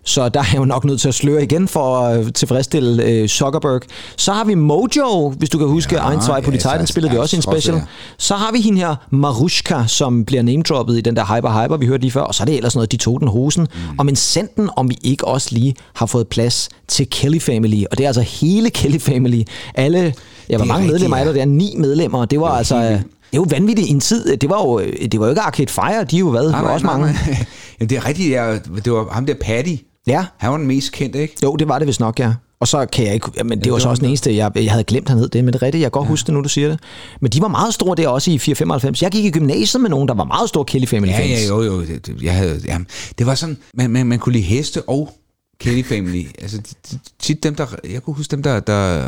Så der er jeg jo nok nødt til at sløre igen for at tilfredsstille øh, Zuckerberg. Så har vi Mojo, hvis du kan huske, ja, Ein Zwei
ja,
Polizei, den
altså,
spillede vi
ja,
også i en
trods alt,
special.
ja.
Så har vi hende her, Marushka, som bliver namedroppet i den der Hyper Hyper, vi hørte lige før. Og så er det ellers noget, de tog den hosen. Mm. Og men senden, om vi ikke også lige har fået plads til Kelly Family. Og det er altså hele Kelly Family. Alle, ja, hvor
er
mange
rigtigt,
medlemmer er
ja.
der? Det er ni medlemmer. og Det var, det var altså... øh, Det er jo vanvittigt i en tid. Det var jo, øh, det var jo ikke Arcade Fire, de er jo hvad?
Nej,
var
nej,
også
nej,
mange.
nej. Jamen, det er rigtigt, ja. det var ham der Patty.
Ja.
Han var den mest kendte, ikke?
Jo, det var det vist nok, ja. Og så kan jeg ikke... Men det var så også den eneste, jeg, jeg havde glemt, han hed det. Men det er rigtigt, jeg kan godt ja. huske det nu, du siger det. Men de var meget store der også i 495. Jeg gik i gymnasiet med nogen, der var meget store Kelly Family
Ja,
fans.
ja, jo, jo. Det, det, jeg havde, jamen, det var sådan, man, man, man kunne lide heste og Kelly Family. Altså, de- de- tit dem, der, jeg kunne huske dem, der, der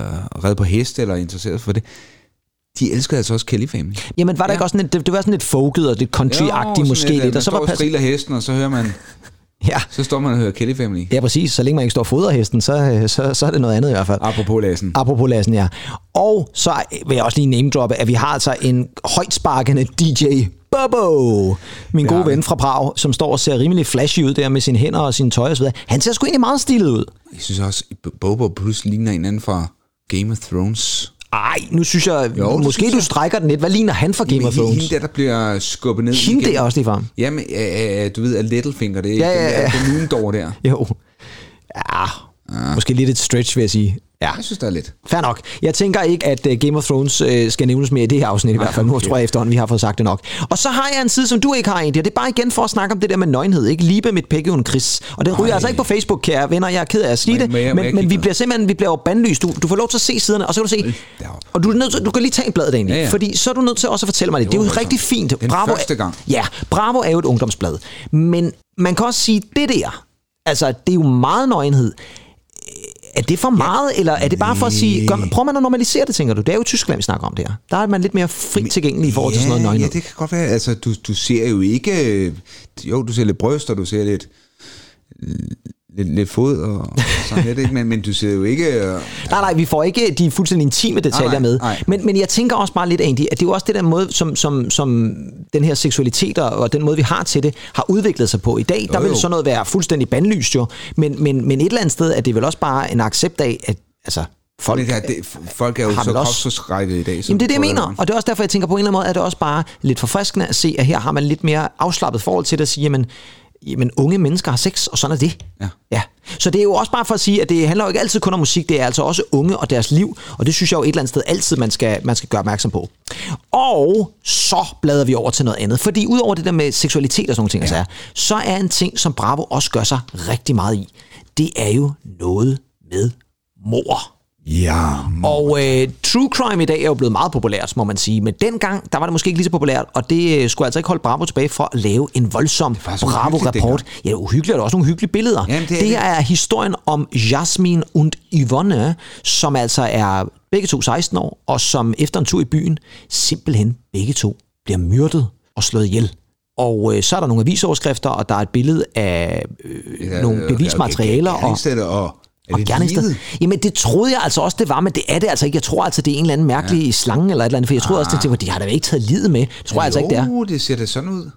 red på heste eller interesserede sig for det, de elskede altså også Kelly Family.
Jamen var der ja. ikke også sådan et, det, det var sådan lidt folket og lidt country-agtigt måske lidt, og så var
pas...
pas-
Man hesten, og så hører man,
ja.
så står man og hører Kelly Family.
ja, præcis. Så længe man ikke står og fodrer hesten, så, øh, så, så er det noget andet i hvert fald.
Apropos Lassen.
Apropos Lassen, ja. Og så vil jeg også lige name-droppe, at vi har altså en højtsparkende DJ Bobo, min gode ven fra Prag, som står og ser rimelig flashy ud der med sine hænder og sine tøj og så videre. Han ser sgu egentlig meget stilet ud.
Jeg synes også, at Bobo pludselig ligner en anden fra Game of Thrones.
Ej, nu synes jeg, jo,
Jo, det
måske
synes
du
jeg.
strækker den lidt. Hvad ligner han for Game
Men
of
hende-
Thrones?
Hende der, der bliver skubbet ned.
Hende
igennem-
der også lige frem.
Jamen, øh, øh, du ved, at Littlefinger, det er
Ja,
ja,
ja,
ja,
ja.
ja. den der, der.
Jo. Ja, måske lidt et stretch, vil jeg sige. Ja.
Jeg synes, der er lidt.
Fair nok. Jeg tænker ikke, at øh, Game of Thrones øh, skal nævnes mere i det her afsnit i hvert fald. Nu tror jeg efterhånden, vi har fået sagt det nok. Og så har jeg en side, som du ikke har egentlig, og det er bare igen for at snakke om det der med nøgenhed. Ikke Liebe mit pækkehund Chris. Og den ryger
Ej.
altså ikke på Facebook, kære venner. Jeg er ked af at sige
Må jeg-
det.
må jeg-
Men,
må jeg
men,
kigge
vi
med?
bliver simpelthen vi bliver jo bandlyst. Du, du får lov til at se siderne, og så kan du se...
da op.
Og du, er nødt til, du kan lige tage en blad, egentlig.
Ja, ja.
Fordi så er du nødt til også at fortælle mig det. Det er jo
voldsomt.
rigtig fint.
Den
Bravo er-
første gang.
Ja, Bravo er jo et ungdomsblad. Men man kan også sige, det der, altså det er jo meget nøgenhed. Er det for meget, eller er det bare for at sige, gør, prøver man at normalisere det, tænker du? Det er jo i Tyskland, vi snakker om det her. Der er man lidt mere fri tilgængelig i forhold til sådan noget nøgenhed.
Ja, det kan godt være. Altså, du, du ser jo ikke... øh, Jo, du ser lidt bryster, du ser lidt... Lidt, lidt fod og sådan lidt, ikke? Men, men du ser jo ikke... øh,
Nej, nej, vi får ikke de fuldstændig intime detaljer
Nej, nej,
med.
nej.
Men, men jeg tænker også bare lidt, Andy, at det er jo også det der måde, som, som, som den her seksualitet og- og den måde, vi har til det, har udviklet sig på. I dag, der
Jo,
vil
jo.
sådan noget være fuldstændig bandlyst jo, men, men, men et eller andet sted er det vel også bare en accept af, at altså, folk...
Men det, er- det, folk er jo
har
så
vel også-
kropsforskrækket i dag. som øh,
Jamen det er det, jeg
prøver
mener, og det er også derfor, jeg tænker på en eller anden måde, at det også bare lidt forfriskende at se, at her har man lidt mere afslappet forhold til det at sige, jamen, jamen unge mennesker har sex, og sådan er det.
Ja.
ja. Så det er jo også bare for at sige, at det handler jo ikke altid kun om musik, det er altså også unge og deres liv, og det synes jeg jo et eller andet sted altid, man skal, man skal gøre opmærksom på. Og så bladrer vi over til noget andet, fordi udover det der med seksualitet og sådan nogle ting, ja. altså, så er en ting, som Bravo også gør sig rigtig meget i, det er jo noget med mor.
Ja,
Og øh, true crime i dag er jo blevet meget populært, må man sige. Men dengang, der var det måske ikke lige så populært, og det øh, skulle altså ikke holde Bravo tilbage for at lave en voldsom
var så uhyggeligt
Bravo-rapport. Ja, uhyggeligt, og der er også nogle hyggelige billeder.
Jamen, det er
det her
det.
er historien om Jasmin und Yvonne, som altså er begge to 16 år, og som efter en tur i byen, simpelthen begge to bliver myrdet og slået ihjel. Og øh, så er der nogle avisoverskrifter, og der er et billede af øh, ja, nogle bevismaterialer. og,
og, og, er
og
det
gerningssted.
livet?
Jamen, det troede jeg altså også, det var, men det er det altså ikke. Jeg tror altså, det er en eller anden mærkelig ja. slange eller et eller andet, for jeg troede også, det var, de har da ikke taget livet med. Det tror jeg altså ikke, det er.
Ah. Jo, det ser da sådan ud.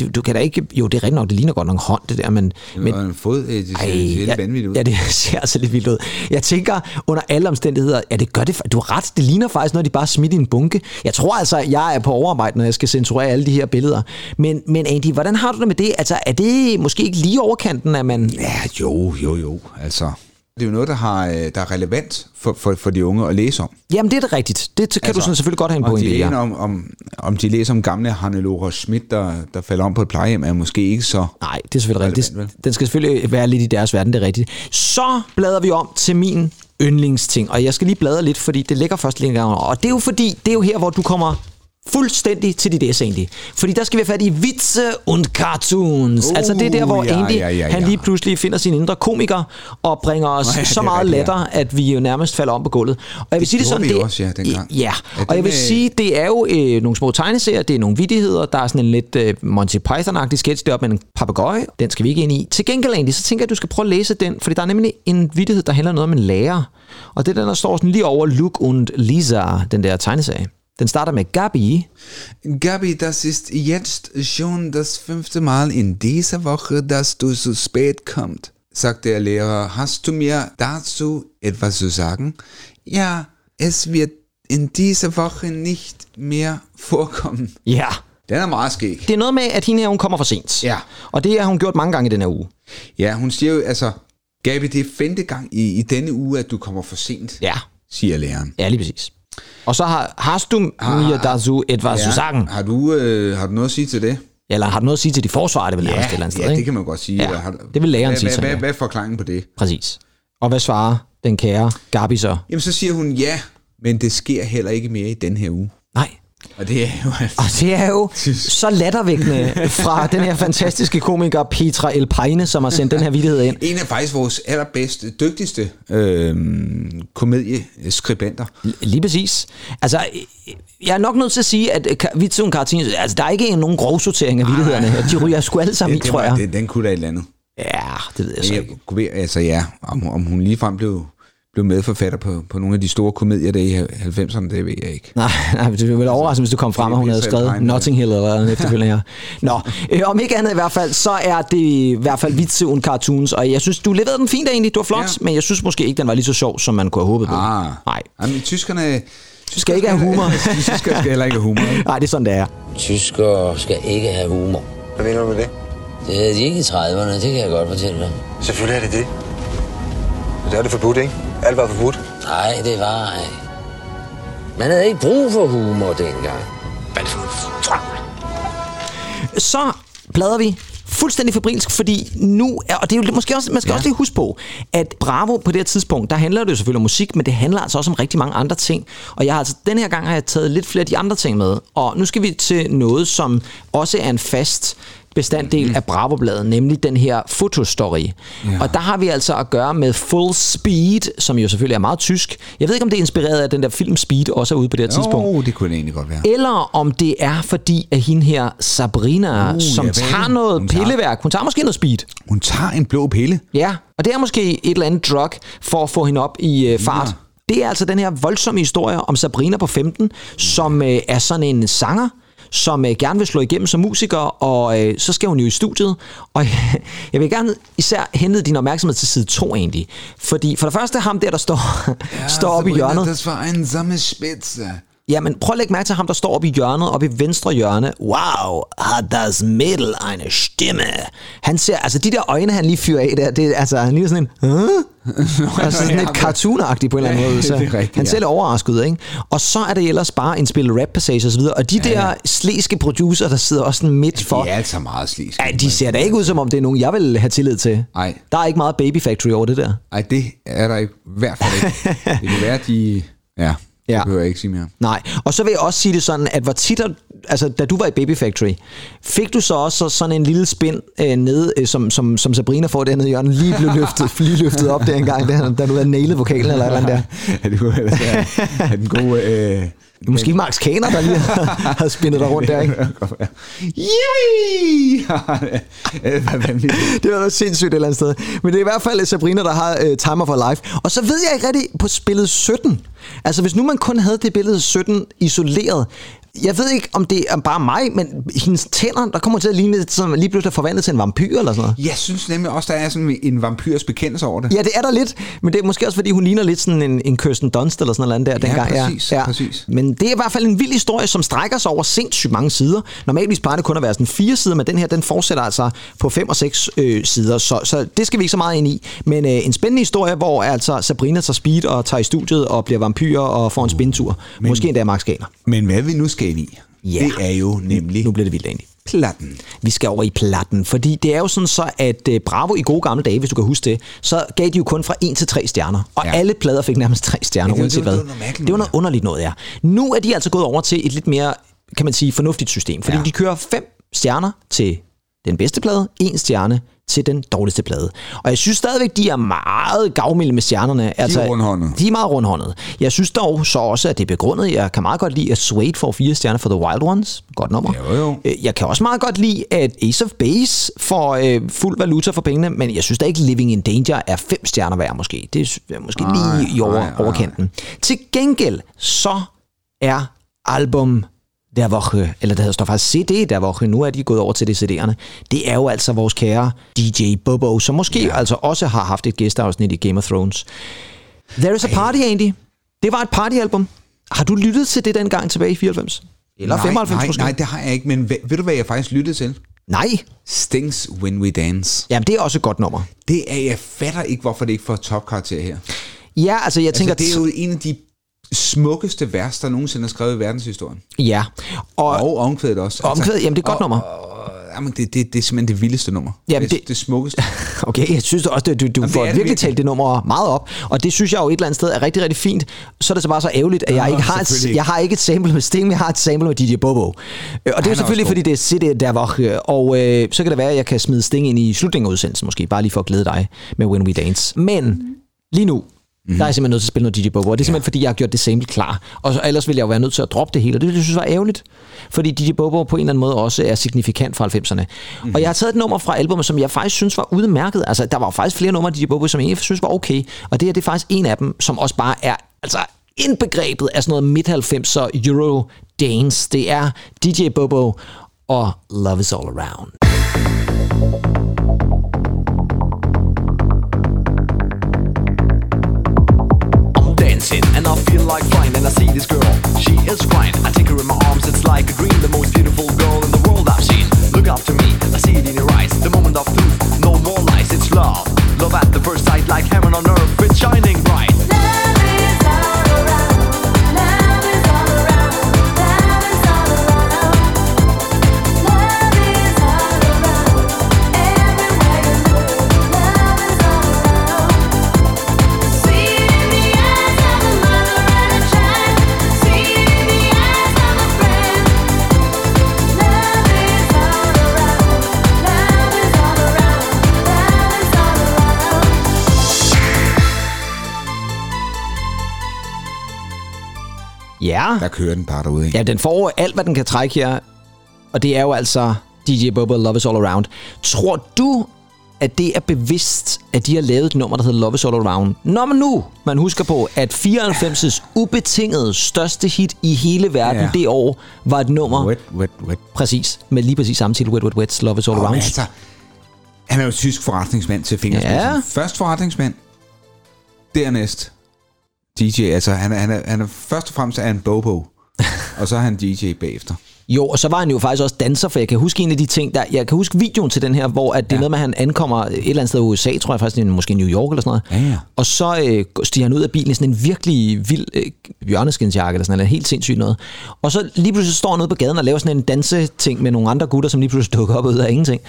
Du, du kan da ikke... Jo, det er rigtigt nok, det ligner godt nok en hånd, det der, men... men
Men, og en fod, øh, det ser, Ej, ser helt
ja,
vanvittigt ud.
ja, det ser altså lidt vildt ud. Jeg tænker, under alle omstændigheder, ja, det gør det... fa- Du har ret, det ligner faktisk noget, de bare smidt i en bunke. Jeg tror altså, jeg er på overarbejde, når jeg skal censurere alle de her billeder. Men, men Andy, hvordan har du det med det? Altså, er det måske ikke lige overkanten, at man...
Ja, jo, jo, jo. Altså, det er jo noget, der, har, øh, der er relevant for, for, for de unge at læse om.
Jamen, det er da rigtigt. Det kan altså, du
Altså,
sådan selvfølgelig godt have en
Om
pointe
de,
i, ja.
læser om, om, om de læser om gamle Hannelore Schmidt, der, der falder om på et plejehjem, er måske ikke så...
Nej, det er selvfølgelig rigtigt.
Relevant,
Det, den skal selvfølgelig være lidt i deres verden, det er rigtigt. Så bladrer vi om til min yndlingsting, og jeg skal lige bladre lidt, fordi det ligger først lige en gang over. Og det er jo fordi, det er jo her, hvor du kommer fuldstændig til dit S egentlig. Fordi der skal vi have fat i vitse und cartoons. Uh,
Uh,
altså det er der, hvor
ja,
Andy,
ja, ja,
han
ja.
lige pludselig finder sin indre komiker og bringer os
ja, det
så
er
meget
rigtigt, ja.
latter, at vi jo nærmest falder om på gulvet. Og jeg vil sige det
gjorde
sådan,
vi
det
jo også, ja, dengang.
Ja,
Ja,
og jeg
den,
vil
øh,
sige, det er jo øh, nogle små tegneserier, det er nogle vidigheder, der er sådan en lidt øh, Monty Python-agtig sketch deroppe med en papegøje. Den skal vi ikke ind i. Til gengæld egentlig, så tænker jeg, at du skal prøve at læse den, fordi der er nemlig en vidighed, der handler noget om en lærer. Og det er den, der står sådan lige over Luke und Lisa, den der tegneserie. Den starter med Gabi.
Gabi, das ist jetzt schon das fünfte Mal in dieser Woche, dass du so spät kommst, sagt der Lehrer. Hast du mir dazu etwas zu sagen? Ja, es wird in dieser Woche nicht mehr vorkommen.
Ja.
Den er meget skæg.
Det er noget med, at hende her, hun kommer for sent.
Ja.
Og det har hun gjort mange gange i den her uge.
Ja, hun siger jo, altså, Gabi, det er femte gang i, i denne uge, at du kommer for sent,
Ja,
siger læreren.
ja lige præcis. Og så har, hast du
Ah.
mir dazu etwas zu sagen?
Har du, øh, har du noget at sige til det?
Eller har du noget at sige til de forsvarer, det vil nærmest et eller andet sted,
ja
ikke?
det kan man godt sige.
Ja,
Har du-
det vil læreren
hvad,
sige,
Hvad,
tænker
hvad,
jeg.
hvad er forklaringen på det?
Præcis. Og hvad svarer den kære Gabi så?
Jamen, så siger hun ja, men det sker heller ikke mere i den her uge.
Nej.
Og det er jo altså...
Og det er jo så lattervækkende fra den her fantastiske komiker Petra Elpine, som har sendt den her vidighed ind.
En af faktisk vores allerbedste, dygtigste øh, komedieskribenter.
Lige præcis. Altså, øh, jeg er nok nødt til at sige, at øh, Vitsun Kartini, altså der er ikke nogen grovsortering af vildhederne. De ryger sgu alle sammen i,
det
tror jeg.
Den, den kunne da et eller andet.
Ja, det ved jeg så
Men
ikke.
Jeg kunne, ved- altså ja, om, om hun ligefrem blev, blev medforfatter på, på nogle af de store komedier der i 90'erne, det ved jeg ikke.
Nej, nej, det ville være overraskende, hvis du kom frem, og hun havde
Peter
skrevet
Elpine,
Notting Hill eller en efterfølgende her. Nå, øh, om ikke andet i hvert fald, så er det i hvert fald vitse und cartoons, og jeg synes, du leverede den fint egentlig, du var flot, ja.
Ja.
men jeg synes måske ikke, den var lige så sjov, som man kunne have håbet på.
Ah,
Nej.
Jamen, tyskerne...
Skal ikke have humor.
tyskerne skal heller ikke have humor. ikke?
Nej, det er sådan, det er.
Tyskere skal ikke have humor.
Hvad mener du med det?
Det havde de ikke i 30'erne, det kan jeg godt fortælle dig.
Selvfølgelig er det det. Men der er det forbudt, ikke? Alt var forbudt.
Nej, det var ej. Man havde ikke brug for humor dengang. Hvad er det for en frø?
så bladrer vi fuldstændig febrilsk, fordi nu er, og det er jo måske også, man skal ja. også lige huske på, at Bravo på det her tidspunkt, der handler det jo selvfølgelig om musik, men det handler altså også om rigtig mange andre ting. Og jeg har altså, den her gang har jeg taget lidt flere af de andre ting med. Og nu skal vi til noget, som også er en fast bestanddel mm. af Bravo-bladet, nemlig den her fotostory. Ja. Og der har vi altså at gøre med Full Speed, som jo selvfølgelig er meget tysk. Jeg ved ikke, om det er inspireret af den der film Speed, også er ude på det her tidspunkt.
Jo, det kunne det egentlig godt være.
Eller om det er fordi, at hende her, Sabrina, uh, som
ja,
ja,
hvad er
tager
det?
noget
Hun tager-
pilleværk, hun tager måske noget speed.
Hun tager en blå pille.
Ja, og det er måske et eller andet drug for at få hende op i øh, fart. Det er altså den her voldsomme historie om Sabrina på 15, som øh, er sådan en sanger, som øh, gerne vil slå igennem som musiker, og øh, så skal hun jo i studiet. Og jeg vil gerne især henlede din opmærksomhed til side 2 egentlig. Fordi for det første ham der, der står, ja, står oppe i hjørnet.
Das war ein Sammelspitze.
Ja, men prøv at lægge mærke til ham, der står oppe i hjørnet, oppe i venstre hjørne. Wow, har das Mädel eine Stimme? Han ser, altså de der øjne, han lige fyrer af der, det er altså, han ligner sådan en, huh? altså sådan lidt cartoon på en eller anden
Ja,
måde. Så.
det er rigtigt,
han ser
ja.
lidt overrasket ud, ikke? Og så er det ellers bare en spil rap passage og så videre. Og de der ja. sleske producer, der sidder også sådan midt for,
De er altså meget slisk.
ja, de ser da ikke ud som om, det er nogen, jeg vil have tillid til.
Ej.
Der er ikke meget Baby Factory over det der.
Ej, det er der ikke. I hvert fald ikke. Det kan være, de... Ja, det
Ja.
behøver jeg ikke sige mere.
Nej, og så vil jeg også sige det sådan, at hvor tit, er- altså, da du var i Baby Factory, fik du så også så- sådan en lille spind øh, nede, øh, som, som, som Sabrina får dernede i hjørnet, lige blev løftet, lige løftet op der engang, da, da du havde nailet vokalen eller et eller andet der.
Ja, det kunne ellers være at den gode... Øh,
Det er Måske Max Kaner, der lige har, har spindet dig rundt der, ikke?
Det kunne godt være. Yay! det var vanvittigt.
Det var noget sindssygt et eller andet sted. Men det er i hvert fald Sabrina, der har øh, Timer for Life. Og så ved jeg ikke rigtig på spillet 17. Altså hvis nu man kun havde det billede 17 isoleret. Jeg ved ikke, om det er bare mig, men hendes tænder, der kommer til at ligne, som lige pludselig er forvandlet til en vampyr eller sådan noget.
Jeg synes nemlig også, der er sådan en vampyrs bekendelse over det.
Ja, det er der lidt, men det er måske også, fordi hun ligner lidt sådan en, en Kirsten Dunst eller sådan noget andet der
Ja,
dengang.
præcis, præcis.
Men det er i hvert fald en vild historie, som strækker sig over sindssygt mange sider. Normalvis plejer det kun at være sådan fire sider, men den her, den fortsætter altså på fem og seks øh, sider, så, så det skal vi ikke så meget ind i. Men øh, en spændende historie, hvor altså Sabrina tager speed og tager i studiet og bliver vampyr og får en spintur. Måske endda Max Ganer.
Men hvad vi nu skal ind i,
Ja.
det er jo nemlig
Nu bliver det vildt egentlig.
platten.
Vi skal over i platten, fordi det er jo sådan så, at øh, Bravo i gode gamle dage, hvis du kan huske det, så gav de jo kun fra 1 til 3 stjerner. Og ja.
Ja.
alle plader fik nærmest 3 stjerner,
Ja, det
ja, uanset
var- det var-
hvad.
det var noget mærkeligt
Det var
noget,
noget underligt noget, ja. Nu er de altså gået over til et lidt mere, kan man sige, fornuftigt system, fordi ja.
Ja.
de kører 5 stjerner til den bedste plade, en stjerne til den dårligste plade. Og jeg synes stadigvæk, de er meget gavmilde med stjernerne. Altså,
rundhåndede.
De er meget rundhåndede. Jeg synes dog så også, at det er begrundet. Jeg kan meget godt lide, at Suede får fire stjerner for The Wild Ones. Godt nummer.
Jo, jo.
Øh, Jeg kan også meget godt lide, at Ace of Base får øh, fuld valuta for pengene, men jeg synes da ikke, Living in Danger er fem stjerner værd måske. Det er s- er måske lige i over,
nej, nej.
overkanten. Til gengæld, så er album der Woche, eller det hedder står faktisk CD der Woche, nu er de gået over til det CD'erne, det er jo altså vores kære DJ Bobo, som måske ja. altså også har haft et gæsteafsnit i Game of Thrones. There is a Party, Andy. Det var et partyalbum. Har du lyttet til det dengang tilbage i 94? Eller
nej,
95
nej,
måske?
nej, det har jeg ikke, men ved, ved du, hvad jeg faktisk lyttede til?
nej.
Stings When We Dance.
Jamen, det er også et godt nummer.
Det er, jeg fatter ikke, hvorfor det ikke får topkarakter her.
Ja, altså jeg tænker...
Altså, det er jo en af de smukkeste vers, der nogensinde er skrevet i verdenshistorien.
Ja, og, og
Og omkvædet også. Altså-
omkvædet, jamen det er et godt nummer.
Og, jamen, det, det, det er simpelthen det vildeste nummer.
Jamen,
det,
det-
det, det smukkeste.
Okay, jeg synes også, at du, du
det
får
er det
virkelig
virkelig.
talt det nummer meget op, og det synes jeg jo et eller andet sted er rigtig, rigtig fint. Så er det så bare så ærgerligt, at jeg, ikke har, et,
selvfølgelig ikke.
jeg har ikke et sample med Sting, men jeg har et sample med DJ Bobo. Øh, Og det er jo
også
selvfølgelig,
god.
fordi det er CD der var, øh, og øh, så kan det være, at jeg kan smide Sting ind i slutningen af udsendelsen måske, bare lige for at glæde dig med When We Dance. Men lige nu,
Mhm.
Mm-hmm. Der er jeg simpelthen nødt til at spille noget DJ Bobo, og det er simpelthen, fordi jeg har gjort det sample klar. Og så, ellers ville jeg jo være nødt til at droppe det hele, og det ville jeg synes var ærgerligt. Fordi DJ Bobo på en eller anden måde også er signifikant fra 90'erne.
Mhm.
Mm-hmm. Og jeg har taget et nummer fra albumet, som jeg faktisk synes var udmærket. Altså, der var jo faktisk flere numre af DJ Bobo, som jeg egentlig synes var okay. Og det her, det er faktisk en af dem, som også bare er altså, indbegrebet af sådan noget midt-90'er Euro Dance. Det er DJ Bobo og Love Is All Around.
I'm dancing and I feel like flying and I see this girl. She is fine. I take her in my arms, it's like a dream. The most beautiful girl in the world I've seen. Look up to me, I see it in your eyes. The moment of truth, no more lies, it's love. Love at the first sight, like heaven on earth, it's shining bright.
Ja.
Der kører den bare derude, ikke?
Ja, den får alt, hvad den kan trække her. Og det er jo altså DJ Bubba Love Is All Around. Tror du, at det er bevidst, at de har lavet et nummer, der hedder Love Is All Around? Når man nu, man husker på, at 94's ubetingede største hit i hele verden
Ja.
ja. det år, var et nummer
Wet, wet, wet.
præcis, med lige præcis samme titel, Wet Wet Wet's Love Is All
Og
Around.
altså, han er jo tysk forretningsmand til fingerspidsen.
Ja.
Først forretningsmand, dernæst DJ. Altså, han er, han er, han er først og fremmest er han bobo, og så er han DJ bagefter.
Jo, og så var han jo faktisk også danser, for jeg kan huske en af de ting, der, jeg kan huske videoen til den her, hvor at det ja. er noget med, at han ankommer et eller andet sted i USA, tror jeg faktisk, det er måske New York eller sådan noget.
Ja, ja.
Og så øh, stiger han ud af bilen i sådan en virkelig vild øh, bjørneskinsjakke eller sådan noget, helt sindssygt noget. Og så lige pludselig står han ude på gaden og laver sådan en danseting med nogle andre gutter, som lige pludselig dukker op ud af ingenting.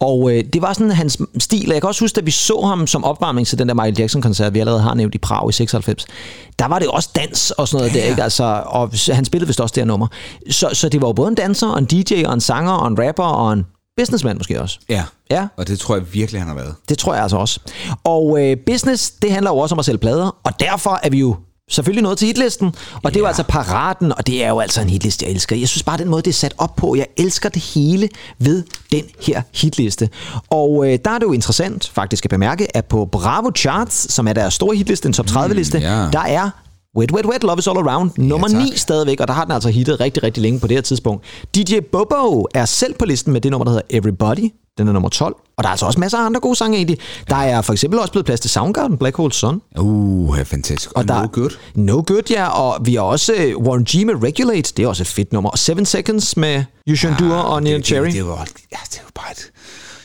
Og øh, det var sådan hans stil, og jeg kan også huske, at vi så ham som opvarmning til den der Michael Jackson-koncert, vi allerede har nævnt i Prag i 96. Der var det også dans og sådan noget der, ikke? Altså, og s- han spillede vist også det her nummer. Så, så det var jo både en danser, og en DJ, og en sanger, og en rapper, og en businessman måske også.
Ja.
Ja.
Og det tror jeg virkelig, han har været.
Det tror jeg altså også. Og øh, business, det handler jo også om at sælge plader, og derfor er vi jo selvfølgelig nået til hitlisten, og det er jo altså paraten, og det er jo altså en hitliste, jeg elsker. Jeg synes bare, den måde, det er sat op på, jeg elsker det hele ved den her hitliste. Og øh, der er det jo interessant faktisk at bemærke, at på Bravo Charts, som er deres store hitliste, en top 30-liste, mm,
ja.
yeah. der er Wet, Wet, Wet, Love is All Around, nummer
tak.
9 stadigvæk, og der har den altså hittet rigtig, rigtig længe på det her tidspunkt. DJ Bobo er selv på listen med det nummer, der hedder Everybody. Den er nummer 12, og der er altså også masser af andre gode sange egentlig. Der er for eksempel også blevet plads til Soundgarden, Black Hole Sun.
Uh, ja, fantastisk. Og,
Og der,
no good.
No Good, ja, og vi har også øh, Warren G med Regulate, det er også et fedt nummer. Og 7 Seconds med You Should Do og Neil
det,
Cherry.
Det, det, var, ja, det var bare et...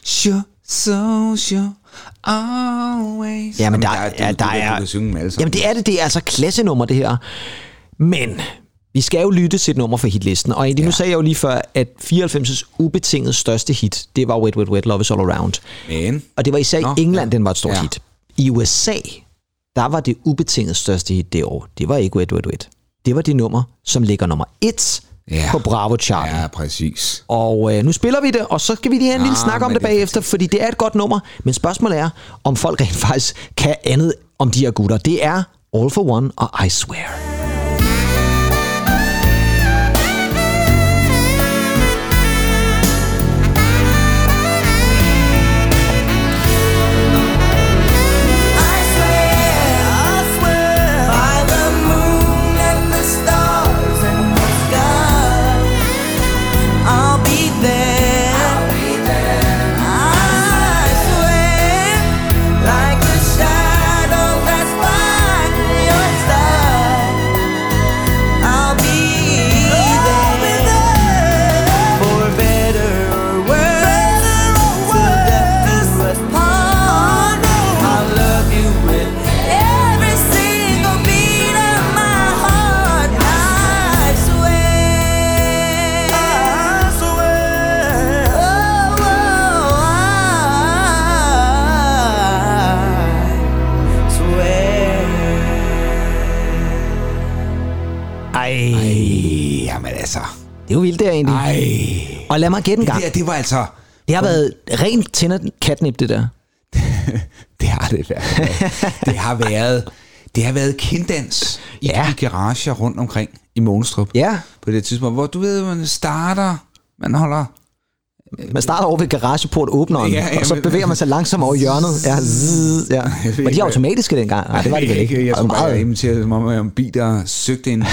Sure, so sure, always.
Jamen, der,
er-
ja,
du-
der
du,
er,
Du kan synge dem alle sammen.
Jamen, det er det. Det er altså klassenummer, det her. Men vi skal jo lytte til et nummer fra hitlisten. Og egentlig, ja. nu sagde jeg jo lige før, at 94's ubetinget største hit, det var Wet Wet Wet, Love Is All Around.
Men,
Og det var især
Nå,
i England,
ja.
den var et stort
Ja.
ja. hit. I USA, der var det ubetinget største hit det år. Det var ikke Wet Wet Wet. Det var det nummer, som ligger nummer et
Ja.
ja. på Bravo-charten.
ja, præcis.
Og øh, nu spiller vi det, og så skal vi lige have en lille
Ah,
snak om
men
det
det er
bagefter, fordi det er et godt nummer. Men spørgsmålet er, om folk rent faktisk kan andet om de her gutter. Det er All For One og I Swear.
Every single beat of my heart, I swear. I swear. Oh, ah. I swear.
Ej, det
Jamen altså.
er jo vildt det her egentlig.
Ej.
Og lad mig gætte en
Det,
gang.
der, det var altså...
Det har været rent tænder catnip, det der.
Det har det været. det har været... Det har været kinddans i ja.
Ja.
de garager rundt omkring i Månestrup.
Ja.
På det tidspunkt, hvor du ved, man starter, man holder...
Man starter over ved garageport åbneren,
Ja,
ja,
ja,
ja, og så
men-
bevæger man sig langsomt over hjørnet. Ja, zzz, ja.
ved
Var
ikke,
de automatiske dengang? Nej, det var de vel ikke.
Jeg
Det var
tror bare, jeg
meget-
imiterede som om, om biler søgte en...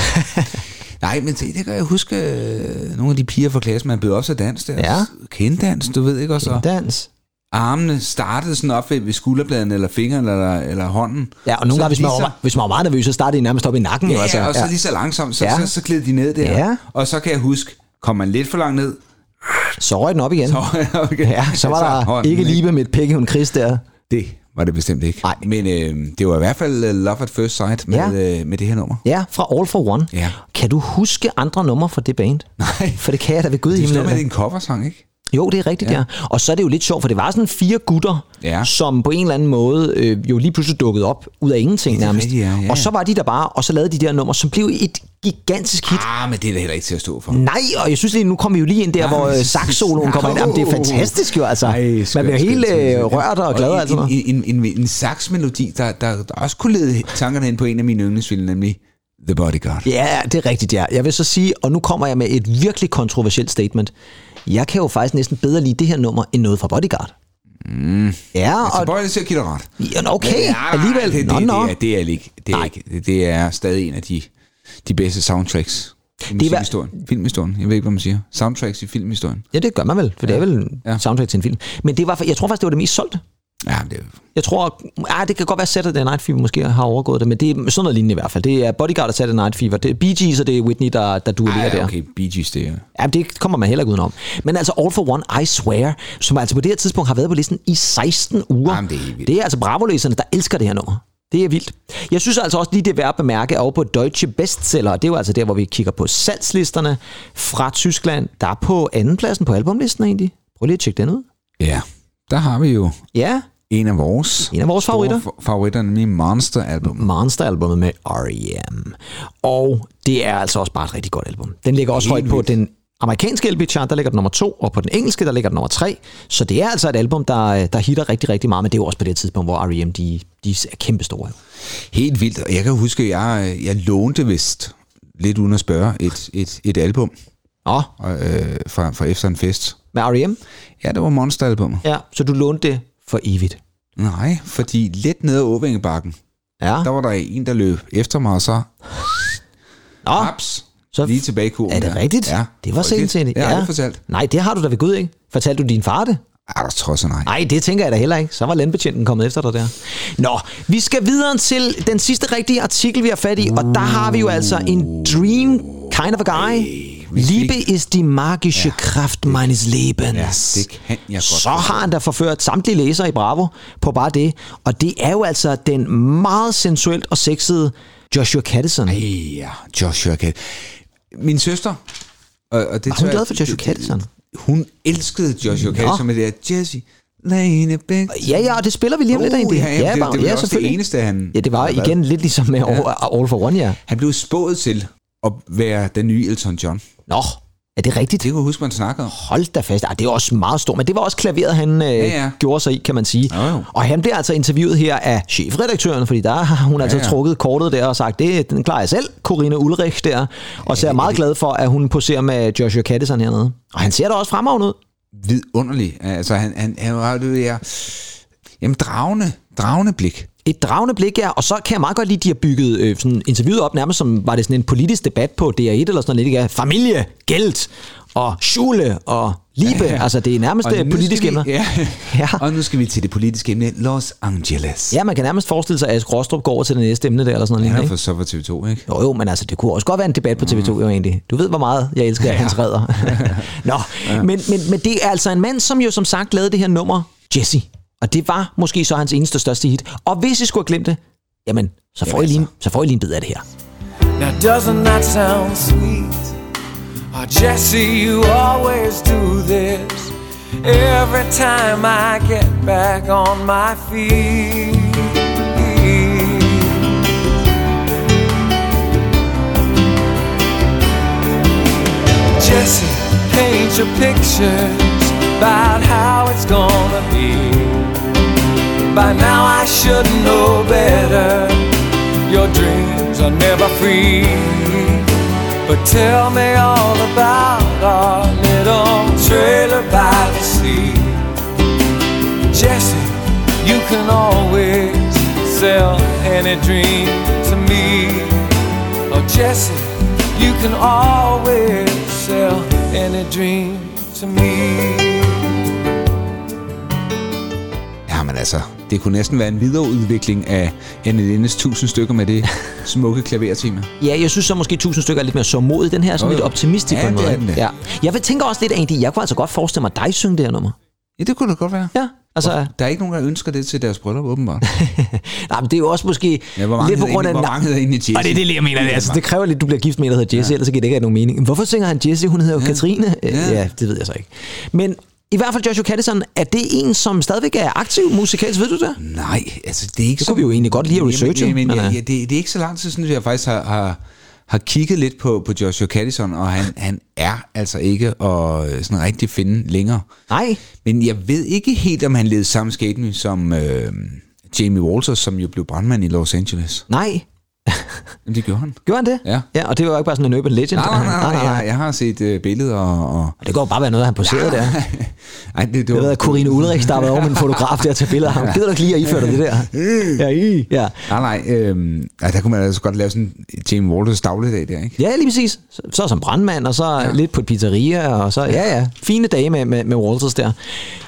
Nej, men det, det kan jeg huske, øh, nogle af de piger fra klassen, man bød også at danse der.
Ja.
Kinddans, du ved ikke også. Og
Dans.
armene startede sådan op ved, ved skulderbladene, eller fingeren, eller, eller hånden.
Ja, og nogle
Så
gange, hvis man,
lige så-
var, hvis man var meget nervøs, så startede de nærmest op i nakken. jo,
Ja,
altså.
ja, og så lige så langsomt, så, ja.
Ja.
så, så gled de ned der.
Ja.
Og så kan jeg huske, kom man lidt for langt ned,
så røg den op igen.
så, okay.
Ja, så var der
hånden,
ikke lige med et pikke hun Chris der.
Det var det bestemt ikke.
Nej.
Men øh, det var i hvert fald øh, Love at First Sight med, ja.
Ja.
øh, med det her nummer.
Ja, fra All for One.
Ja.
Kan du huske andre numre fra det band?
Nej.
For det kan jeg da ved Gud i
Det er sådan
himlen.
med, det er en coversang, ikke?
Jo, det er rigtigt, ja. ja. Og så er det jo lidt sjovt, for det var sådan fire gutter,
Ja.
som på en eller anden måde øh, jo lige pludselig dukkede op ud af ingenting
er
nærmest.
rigtigt, ja, ja.
Og så var de der bare, og så lavede de der numre, som blev et gigantisk hit.
Ah, men det er da heller ikke til at stå for.
Nej, og jeg synes lige, nu kommer vi jo lige ind der,
Nej,
hvor
men
øh,
så-
saxoloen kommer ind. Jamen, det er fantastisk jo, altså.
Ej,
Man
skønt,
bliver helt
skønt, skønt,
øh,
skønt.
rørt og glad og alt sådan
en,
noget.
en, en, en, en saxmelodi, der, der, der også kunne lede tankerne ind på en af mine yndlingsfilm, nemlig The Bodyguard.
Ja, det er rigtigt, ja. Jeg vil så sige, og nu kommer jeg med et virkelig kontroversielt statement. Jeg kan jo faktisk næsten bedre lide det her nummer, end noget fra Bodyguard. Mm. Ja,
Og
og...
Bøjle til at give dig ret.
Ja, nå, okay,
Altså, Ja,
alligevel.
Det, det,
Nå, nå.
det, er, det, er, ikke, det, er
Nej.
ikke, det- det er stadig en af de, de bedste soundtracks i
er hver-
musikhistorien. Filmhistorien. Jeg ved ikke, hvad man siger. Soundtracks i filmhistorien.
Ja, det gør man vel, for det er vel en
Ja.
soundtrack til en film. Men det var, jeg tror faktisk, det var det mest solgte.
Ja, men det er jo-
Jeg tror, ah, det kan godt være Saturday Night Fever måske har overgået det, men det er sådan noget lignende i hvert fald. Det er Bodyguard og Saturday Night Fever. Det er Bee Gees, og det er Whitney, der, der duellerer
Ej,
der.
okay, Bee Gees, det er...
Ja, det kommer man heller ikke udenom. Men altså All for One, I Swear, som altså på det her tidspunkt har været på listen i 16 uger.
Jamen, det er helt vildt.
det er altså bravolæserne, der elsker det her nummer. Det er vildt. Jeg synes altså også lige, det er værd at bemærke, at over på Deutsche Bestseller, det er jo altså der, hvor vi kigger på salgslisterne fra Tyskland, der er på andenpladsen på albumlisten egentlig. Prøv lige at tjekke den ud.
Ja, der har vi jo
Ja,
en af vores...
En af vores
store
favoritter.
fa- favoritter, nemlig Monster Album.
Monster-albummet med R.E.M. Og det er altså også bare et rigtig godt album. Den ligger også højt på den amerikanske LP-chart, der ligger den nummer to, og på den engelske, der ligger den nummer tre. Så det er altså et album, der, øh, der hitter rigtig, rigtig meget, men det er jo også på det tidspunkt, hvor R.E.M. de, de er kæmpestore. jo.
Helt vildt. Og jeg kan huske, jeg, øh, jeg lånte vist, lidt uden at spørge, et, et, et album
Nå,
og, øh, fra, fra efter en fest.
med R.E.M.?
Ja, det var Monster Album.
Ja, så du lånte det for evigt.
Nej, fordi lidt nede ad Åvingebakken,
Ja,
der var der en, der løb efter mig, og så
Nå,
Haps.
så
Lige tilbage i kurven.
er det
der.
rigtigt?
Ja.
Det var
Frygteligt.
sent til det.
Ja, det fortalt.
Nej, det har du da ved Gud ikke. Fortalte du din far det?
Ej, der tror jeg nej.
Nej, det tænker jeg da heller ikke. Så var landbetjenten kommet efter dig der. Nå, vi skal videre til den sidste rigtige artikel, vi har fat i, og der har vi jo altså en dream kind of a guy. Liebe ist die magische Kraft meines Lebens. Ja,
det kan jeg godt
Så har han da forført samtlige læsere i Bravo på bare det. Og det er jo altså den meget sensuelt og sexede Joshua Caddison.
Ja, Joshua Cat. Min søster... Og, og det
Var hun
tror jeg-
glad for Joshua
det-
Caddison?
Hun elskede Joshua Caddison med det der Jesse. Lane Beck.
Ja, ja, og det spiller vi lige om lidt
Uh,
af. egentlig.
ja, jamen, det-
bare-
det var også det
selvfølgelig.
eneste, han-
Ja, det var
eller hvad?
igen lidt ligesom med All for One, ja.
Han blev spået til at være den nye Elton John.
Nå, er det rigtigt?
Det kunne jeg huske, man snakkede om.
Hold da fast. Ej, det er også meget stort, men det var også klaveret, han øh, ja, ja.
ja.
gjorde sig i, kan man sige.
Jo, jo.
Og han bliver altså interviewet her af chefredaktøren, fordi der har hun altså ja,
ja.
ja. trukket kortet der og sagt, det den klarer jeg selv, Corinne Ulrich der. Og så er jeg meget glad for, at hun poserer med Joshua Caddison hernede. Og han ser da også fremragende ud.
Vidunderlig. Altså, han, han, han var det der... Jamen, dragende, dragende blik.
Et dragende blik, ja, og så kan jeg meget godt lide, at de har bygget øh, sådan interviewet op, nærmest som var det sådan en politisk debat på DR1 eller sådan noget lidt, ja. Familie, gæld og Schule og Liebe, ja, ja. altså det er nærmest
Og nu
øh,
skal
politiske
vi-
emner.
Ja.
Ja.
ja. Og nu skal vi til det politiske emne, Los Angeles.
Ja, man kan nærmest forestille sig, at Ask Rostrup går over til det næste emne der, eller sådan noget.
Han
lignende,
er
ikke?
for Mm. så for TV2, ikke?
Jo, jo, men altså, det kunne også godt være en debat på TV2, jo egentlig. Du ved, hvor meget jeg elsker ja. Hans Redder. Nå, ja. men, men, men det er altså en mand, som jo som sagt lavede det her nummer, Jesse. Og det var måske så hans eneste største hit. Og hvis I skulle have glemt det, jamen, så får, I, lige, en-
altså.
så får I lige en bid af det her.
Now doesn't that sound sweet? Oh, Jesse, you always do this every time I get back on my feet. Jesse, paint your pictures about how it's gonna be. By now I should know better. Your dreams are never free. But tell me all about our little trailer by the sea. Jesse, you can always sell any dream to me. Oh, Jesse, you can always sell any dream to me.
Jamen altså, det kunne næsten være en videreudvikling af Annelines 1000 stykker med det smukke klavertema.
Ja, jeg synes så måske 1000 stykker er lidt mere så mod. Den her er sådan
Jo,
lidt
jo.
optimistisk
Ja,
på en
det
måde.
er den, ja.
ja. Jeg vil tænke også lidt, Andy, jeg kunne altså godt forestille mig dig synge det her nummer.
Ja, det kunne da godt være.
Ja, altså...
Der er ikke nogen, der ønsker det til deres bryllup, åbenbart.
Nej, men det er jo også måske
Ja, hvor mange
lidt på
hedder
grund af...
egentlig- hvor mange hedder egentlig Jesse?
Og det er det, jeg mener. Det, altså, det kræver lidt, at du bliver gift med en, der hedder Jesse, ja. ellers så giver det ikke nogen mening. Hvorfor synger han Jesse? Hun hedder jo ja. Katrine. Ja. ja. det ved jeg så ikke. Men i hvert fald Joshua Caddison, er det en, som stadigvæk er aktiv musikalsk, ved du det?
Nej, altså det er ikke
Det kunne vi jo egentlig godt lige have researchet,
Jamen,
men,
jamen,
øh.
ja, ja, det, det er ikke så lang tid siden, at jeg faktisk har, har, har kigget lidt på, på Joshua Caddison, og han, han er altså ikke at øh, sådan rigtig finde længere.
Nej.
Men jeg ved ikke helt, om han levede samme skæbne som øh, Jamie Walters, som jo blev brandmand i Los Angeles.
Nej.
Jamen, det gjorde han.
Gjorde han det?
Ja.
ja og det var jo ikke bare sådan en urban legend.
Nej, nej, nej, nej, Jeg, jeg har set øh, billeder og... og
Og det går bare være noget, han poserede der.
Ej, det, det
Jeg ved, at Corinne Ulrik startede over med en fotograf der til billeder af ham. Gider du ikke lige at iføre dig det der? Ja, i. Ja.
Nej, nej. Øh, der kunne man altså godt lave sådan en James Walters dagligdag der, ikke?
ja, lige præcis. Så, så som brandmand, og så ja. lidt på et pizzeria, og så, ja, ja, fine dage med, med, med Walters der.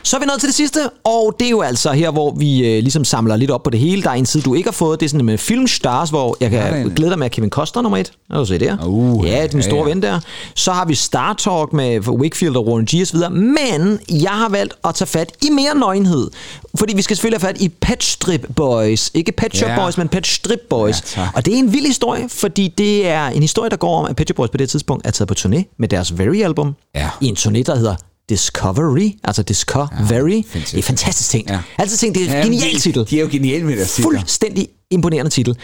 Så er vi nået til det sidste, og det er jo altså her, hvor vi øh, ligesom samler lidt op på det hele. Der er en side, du ikke har fået, det er sådan med Filmstars, hvor jeg
der er
kan
en-
glæde dig med at Kevin Costner nummer et. Har du set det?
Uh,
ja, den
ja,
store
ja.
ven der. Så har vi Star Talk med Wakefield og Warren G osv. Men jeg har valgt at tage fat i mere nøgenhed. Fordi vi skal selvfølgelig have fat i Pet Strip Boys. Ikke Pet Shop
Ja.
Boys, men Pet Strip Boys.
Ja, tak.
og det er en vild historie, fordi det er en historie, der går om, at Pet Shop Boys på det tidspunkt er taget på turné med deres Very-album.
Ja.
I en turné, der hedder Discovery. Altså Discovery. Ja, det er en fantastisk ting.
Ja.
Altid tænkt, det er en genial titel.
De er jo geniale med deres titler.
Fuldstændig imponerende titel.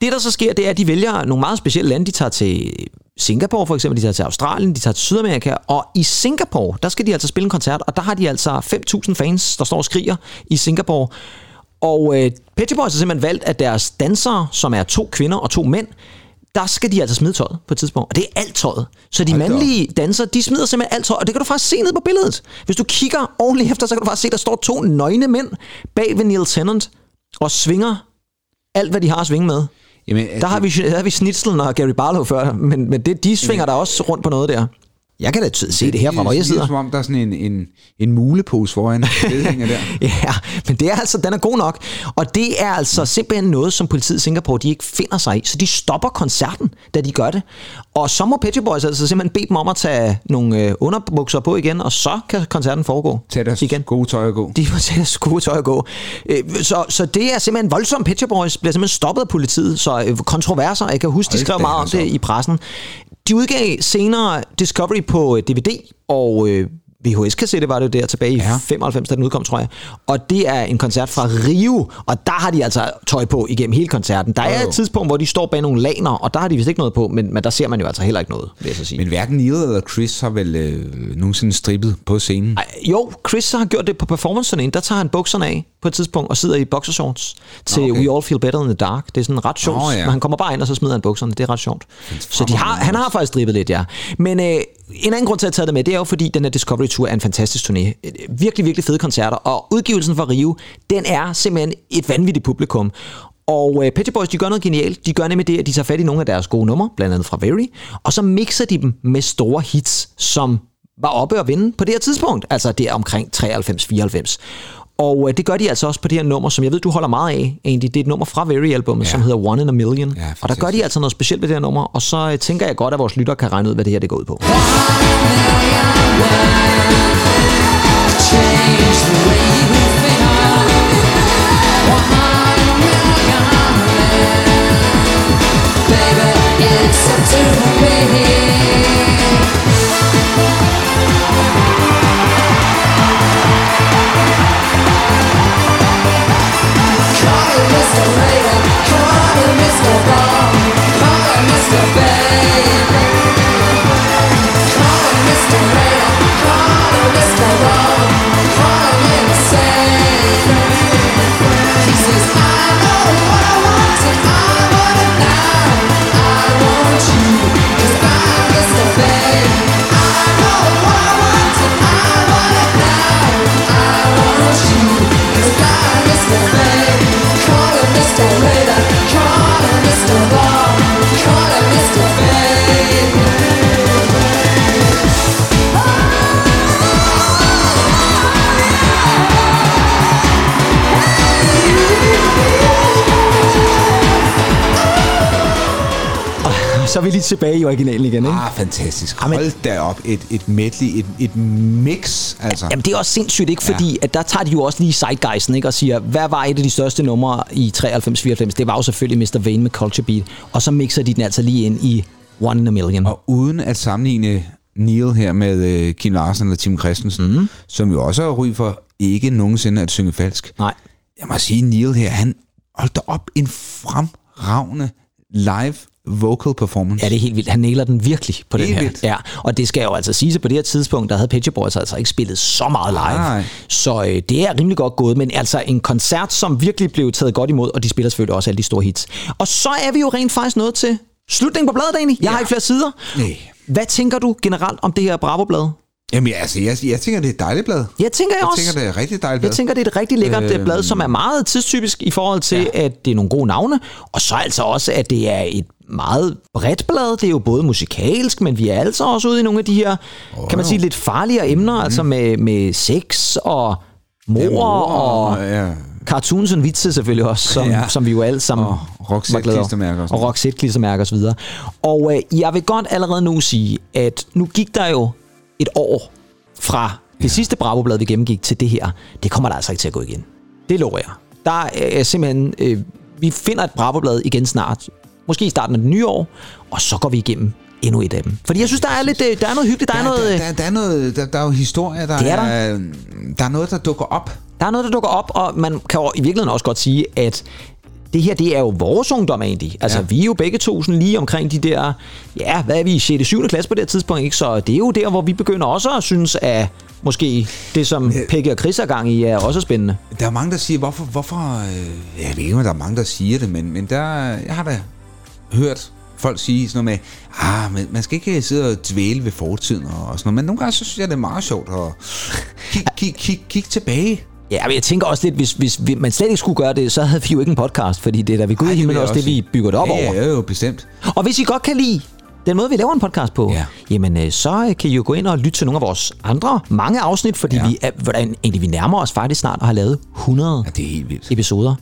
Det, der så sker, det er, at de vælger nogle meget specielle lande. De tager til Singapore for eksempel, de tager til Australien, de tager til Sydamerika, og i Singapore, der skal de altså spille en koncert, og der har de altså 5.000 fans, der står og skriger i Singapore. Og øh, Pet Shop Boys har simpelthen valgt, at deres dansere, som er to kvinder og to mænd, der skal de altså smide tøjet på et tidspunkt. Og det er alt tøjet. Så de
Hold da op.
mandlige dansere, de smider simpelthen alt tøjet. Og det kan du faktisk se ned på billedet. Hvis du kigger ordentligt efter, så kan du faktisk se, der står to nøgne mænd bag ved Neil Tennant og svinger alt, hvad de har at svinge med.
Jamen,
Der har vi, der har vi Snitslen og Gary Barlow før, men, men det, de svinger der også rundt på noget der. Jeg kan da ty- se det her fra, hvor jeg
altså, Det er som
sidder.
om, der er sådan en, en, en mulepose foran vedhænger der.
Ja, men det er altså, den er god nok. Og det er altså simpelthen noget, som politiet i Singapore, de ikke finder sig i. Så de stopper koncerten, da de gør det. Og så må Petty Boys altså simpelthen bede dem om at tage nogle øh, underbukser på igen, og så kan koncerten foregå
Tag deres
igen.
gode tøj og gå.
De må tage deres gode tøj og gå. Øh, Så, så det er simpelthen voldsomt. Pitcher Boys bliver simpelthen stoppet af politiet, så øh, kontroverser. Jeg kan huske, de
Hold
skrev
da,
meget om
altså.
det i pressen. De udgav senere Discovery på øh, DVD, og øh, VHS-kassette var det jo der tilbage i
Ja.
95, da den udkom, tror jeg. Og det er en koncert fra Rio, og der har de altså tøj på igennem hele koncerten. Der er
Wow.
et tidspunkt, hvor de står bag nogle laner, og der har de vist ikke noget på, men, men der ser man jo altså heller ikke noget, vil jeg så sige.
Men hverken Neil eller Chris har vel øh, nogensinde strippet på scenen. Ej,
Jo, Chris har gjort det på performancerne. Der tager han bukserne af på et tidspunkt og sidder i boxershorts til
Nå,
okay.
okay.
We All Feel Better in the Dark. Det er sådan ret sjovt.
Nå, ja.
Men han kommer bare ind, og så smider han bukserne. Det er ret sjovt. Så de har, han har faktisk dribbet lidt, ja. Men øh, en anden grund til at tage det med, det er jo fordi, den her Discovery Tour er en fantastisk turné. Øh, Virkelig, virkelig fede koncerter. Og udgivelsen fra Rio, den er simpelthen et vanvittigt publikum. Og øh, Petty Boys, de gør noget genialt. De gør nemlig det, at de tager fat i nogle af deres gode numre, blandt andet fra Very, og så mixer de dem med store hits, som var oppe og vinde på det her tidspunkt, altså det er omkring 93-94. Og øh, det gør de altså også på det her nummer, som jeg ved, du holder meget af, Andy. Det er et nummer fra Very-albummet, ja. som hedder One in a Million.
Ja,
og der gør de altså noget specielt ved det her nummer, og så øh, tænker jeg godt, at vores lyttere kan regne ud, hvad det her det går ud på. Så er vi lige tilbage i originalen igen, ikke?
Ah, fantastisk.
Jamen-
Hold da op. Et, et medley, et, et mix, altså.
Jamen, det er også sindssygt, ikke? Fordi ja. at der tager de jo også lige sidegeisen, ikke? Og siger, hvad var et af de største numre i 93-94? Det var jo selvfølgelig Mr. Vane med Culture Beat. Og så mixer de den altså lige ind i One in a Million.
Og uden at sammenligne Neil her med øh, Kim Larsen eller Tim Christensen,
Mhm.
mm. som jo også er ry for ikke nogensinde at synge falsk.
Nej.
Jeg må sige, Neil her, han holdt da op en fremragende live vocal performance.
Ja, det er helt vildt. Han næler den virkelig på den
Helt
her.
vildt.
Ja, og det skal jo altså siges, at på det her tidspunkt, der havde Pet Shop Boys altså ikke spillet så meget live.
Nej.
Så øh, det er rimelig godt gået, men altså en koncert, som virkelig blev taget godt imod, og de spiller selvfølgelig også alle de store hits. Og så er vi jo rent faktisk nået til slutningen på bladet, egentlig. Jeg ja. har ikke flere sider.
Nej.
Hvad tænker du generelt om det her Bravo-blad?
Jamen altså, jeg, jeg tænker, det er et dejligt blad.
Jeg tænker jeg,
Jeg
også.
tænker, det er et rigtig dejligt blad.
Jeg tænker, det er et rigtig lækkert øh, blad, som er meget tidstypisk i forhold til, ja. at det er nogle gode navne, og så altså også, at det er et meget bredt blad. Det er jo både musikalsk, men vi er altså også ude i nogle af de her, oh, kan man sige, lidt farligere emner, mm. altså med, med sex og mor, ja, mor og
ja.
cartoons og vitse selvfølgelig også, som, ja.
Ja.
som vi jo alle sammen
Og Roxette
var glade over.
klistermærker og sådan
Og Roxette klistermærker og så videre. Og øh, jeg vil godt allerede nu sige, at nu gik der jo et år fra det sidste Bravo-blad, vi gennemgik, til det her. Det kommer der altså ikke til at gå igen. Det lover jeg. Der er øh, simpelthen... Øh, vi finder et Bravo-blad igen snart. Måske i starten af det nye år. Og så går vi igennem endnu et af dem. Fordi jeg synes, der er, lidt, øh, der er noget hyggeligt. Der er,
Der,
noget,
der,
øh,
der, der, er noget, der, der er jo historie, der,
Det er der.
Er, der er noget, der dukker op.
Der er noget, der dukker op, og man kan jo i virkeligheden også godt sige, at det her, det er jo vores ungdom egentlig. Altså, ja.
Ja.
vi er jo begge to sådan lige omkring de der, ja, hvad er vi, i 6. 7. klasse på det her tidspunkt, ikke? Så det er jo der, hvor vi begynder også at synes, at måske det, som Peggy og Chris er gang i, er også spændende.
Der er mange, der siger, hvorfor... hvorfor øh, jeg ved ikke, om der er mange, der siger det, men, men der, jeg har da hørt folk sige sådan noget med, ah, men man skal ikke sidde og dvæle ved fortiden og, og sådan noget, men nogle gange så synes jeg, det er meget sjovt at kigge kig, kig, kig tilbage.
Ja, men jeg tænker også lidt, hvis, hvis vi, man slet ikke skulle gøre det, så havde vi jo ikke en podcast, fordi det er da ved Gud i
Ej, vil
himlen
jeg
også det,
sige.
vi bygger det op
ja,
over.
Ja, jo, bestemt.
Og hvis I godt kan lide den måde, vi laver en podcast på, ja.
Ja.
jamen øh, så øh, kan I jo gå ind og lytte til nogle af vores andre mange afsnit, fordi ja. vi, er, hvordan, egentlig, vi nærmer os faktisk snart at have lavet 100
Ja, det er helt vildt.
episoder.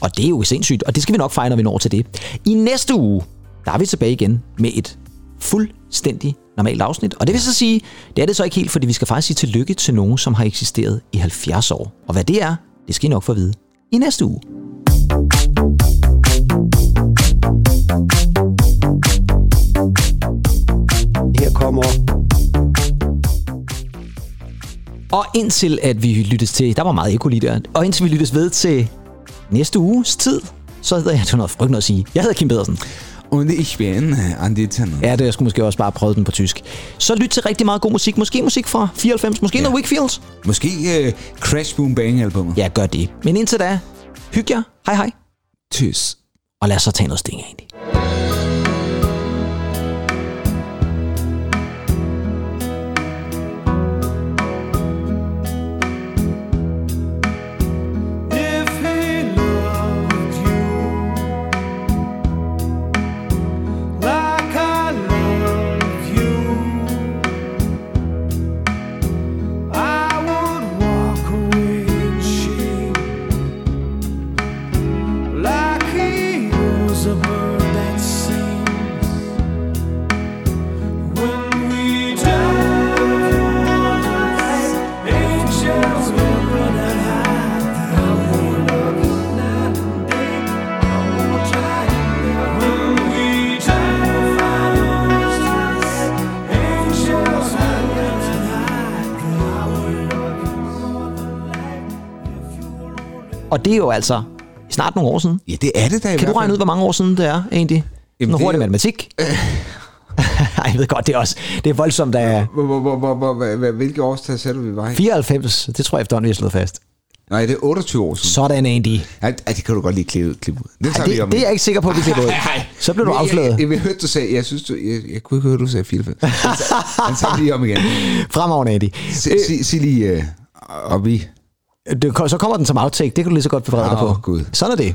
Og det er jo sindssygt, og det skal vi nok fejre, når vi når til det. I næste uge, der er vi tilbage igen med et fuldstændig normalt afsnit. Og det vil så sige, det er det så ikke helt, fordi vi skal faktisk sige tillykke til nogen, som har eksisteret i 70 år. Og hvad det er, det skal I nok få at vide i næste uge.
Her kommer
Og indtil at vi lyttes til, der var meget ekko lige der, og indtil vi lyttes ved til næste uges tid, så hedder jeg, det var noget frygt noget at sige, jeg hedder Kim Pedersen.
Und ich bin an die Tanne.
Ja, det jeg skulle måske også bare prøve den på tysk. Så lyt til rigtig meget god musik, måske musik fra 94, måske ja. noget Wickfields.
Måske øh, Crash Boom Bang albumet.
Ja, gør det. Men indtil da, hyg jer, hej hej,
Tys.
og lad os så tage noget sting egentlig.
If he loved you like I love you, I would walk away in shame, like he was a bird that sings. When we die, angels will run and hide.
Og det er jo altså snart nogle år siden.
Ja, det er det da i
Kan du regne ud, hvor mange år siden det er egentlig? Jamen,
Jamen,
Noget
det er
hurtig
jo-
matematik. Ej, jeg ved godt, det er også det er voldsomt, der er
Hvor, hvor, hvor, hvor, hvor, hvor, hvor, hvilke årstal sætter vi vej?
94. Det tror jeg efterhånden, vi har slået fast.
Nej, det er 28 år siden.
Sådan, Andy.
Ja, det- ja, det kan du godt lige klippe, klippe ud. Det,
Ej,
tager vi
det,
om
det er
lidt.
jeg ikke sikker på, at vi klipper ud. Så blev du
Men jeg-
afsløret.
Jeg, jeg, hørte, du sagde, jeg synes, du, jeg, jeg kunne ikke høre, du sagde 94. Den tager- Den tager vi lige om igen.
Fremover, Andy.
Sig, sig, sig lige, øh, og vi...
Det, så kommer den som outtake. Det kan du lige så godt forberede dig
Åh,
på.
Gud.
Sådan er det.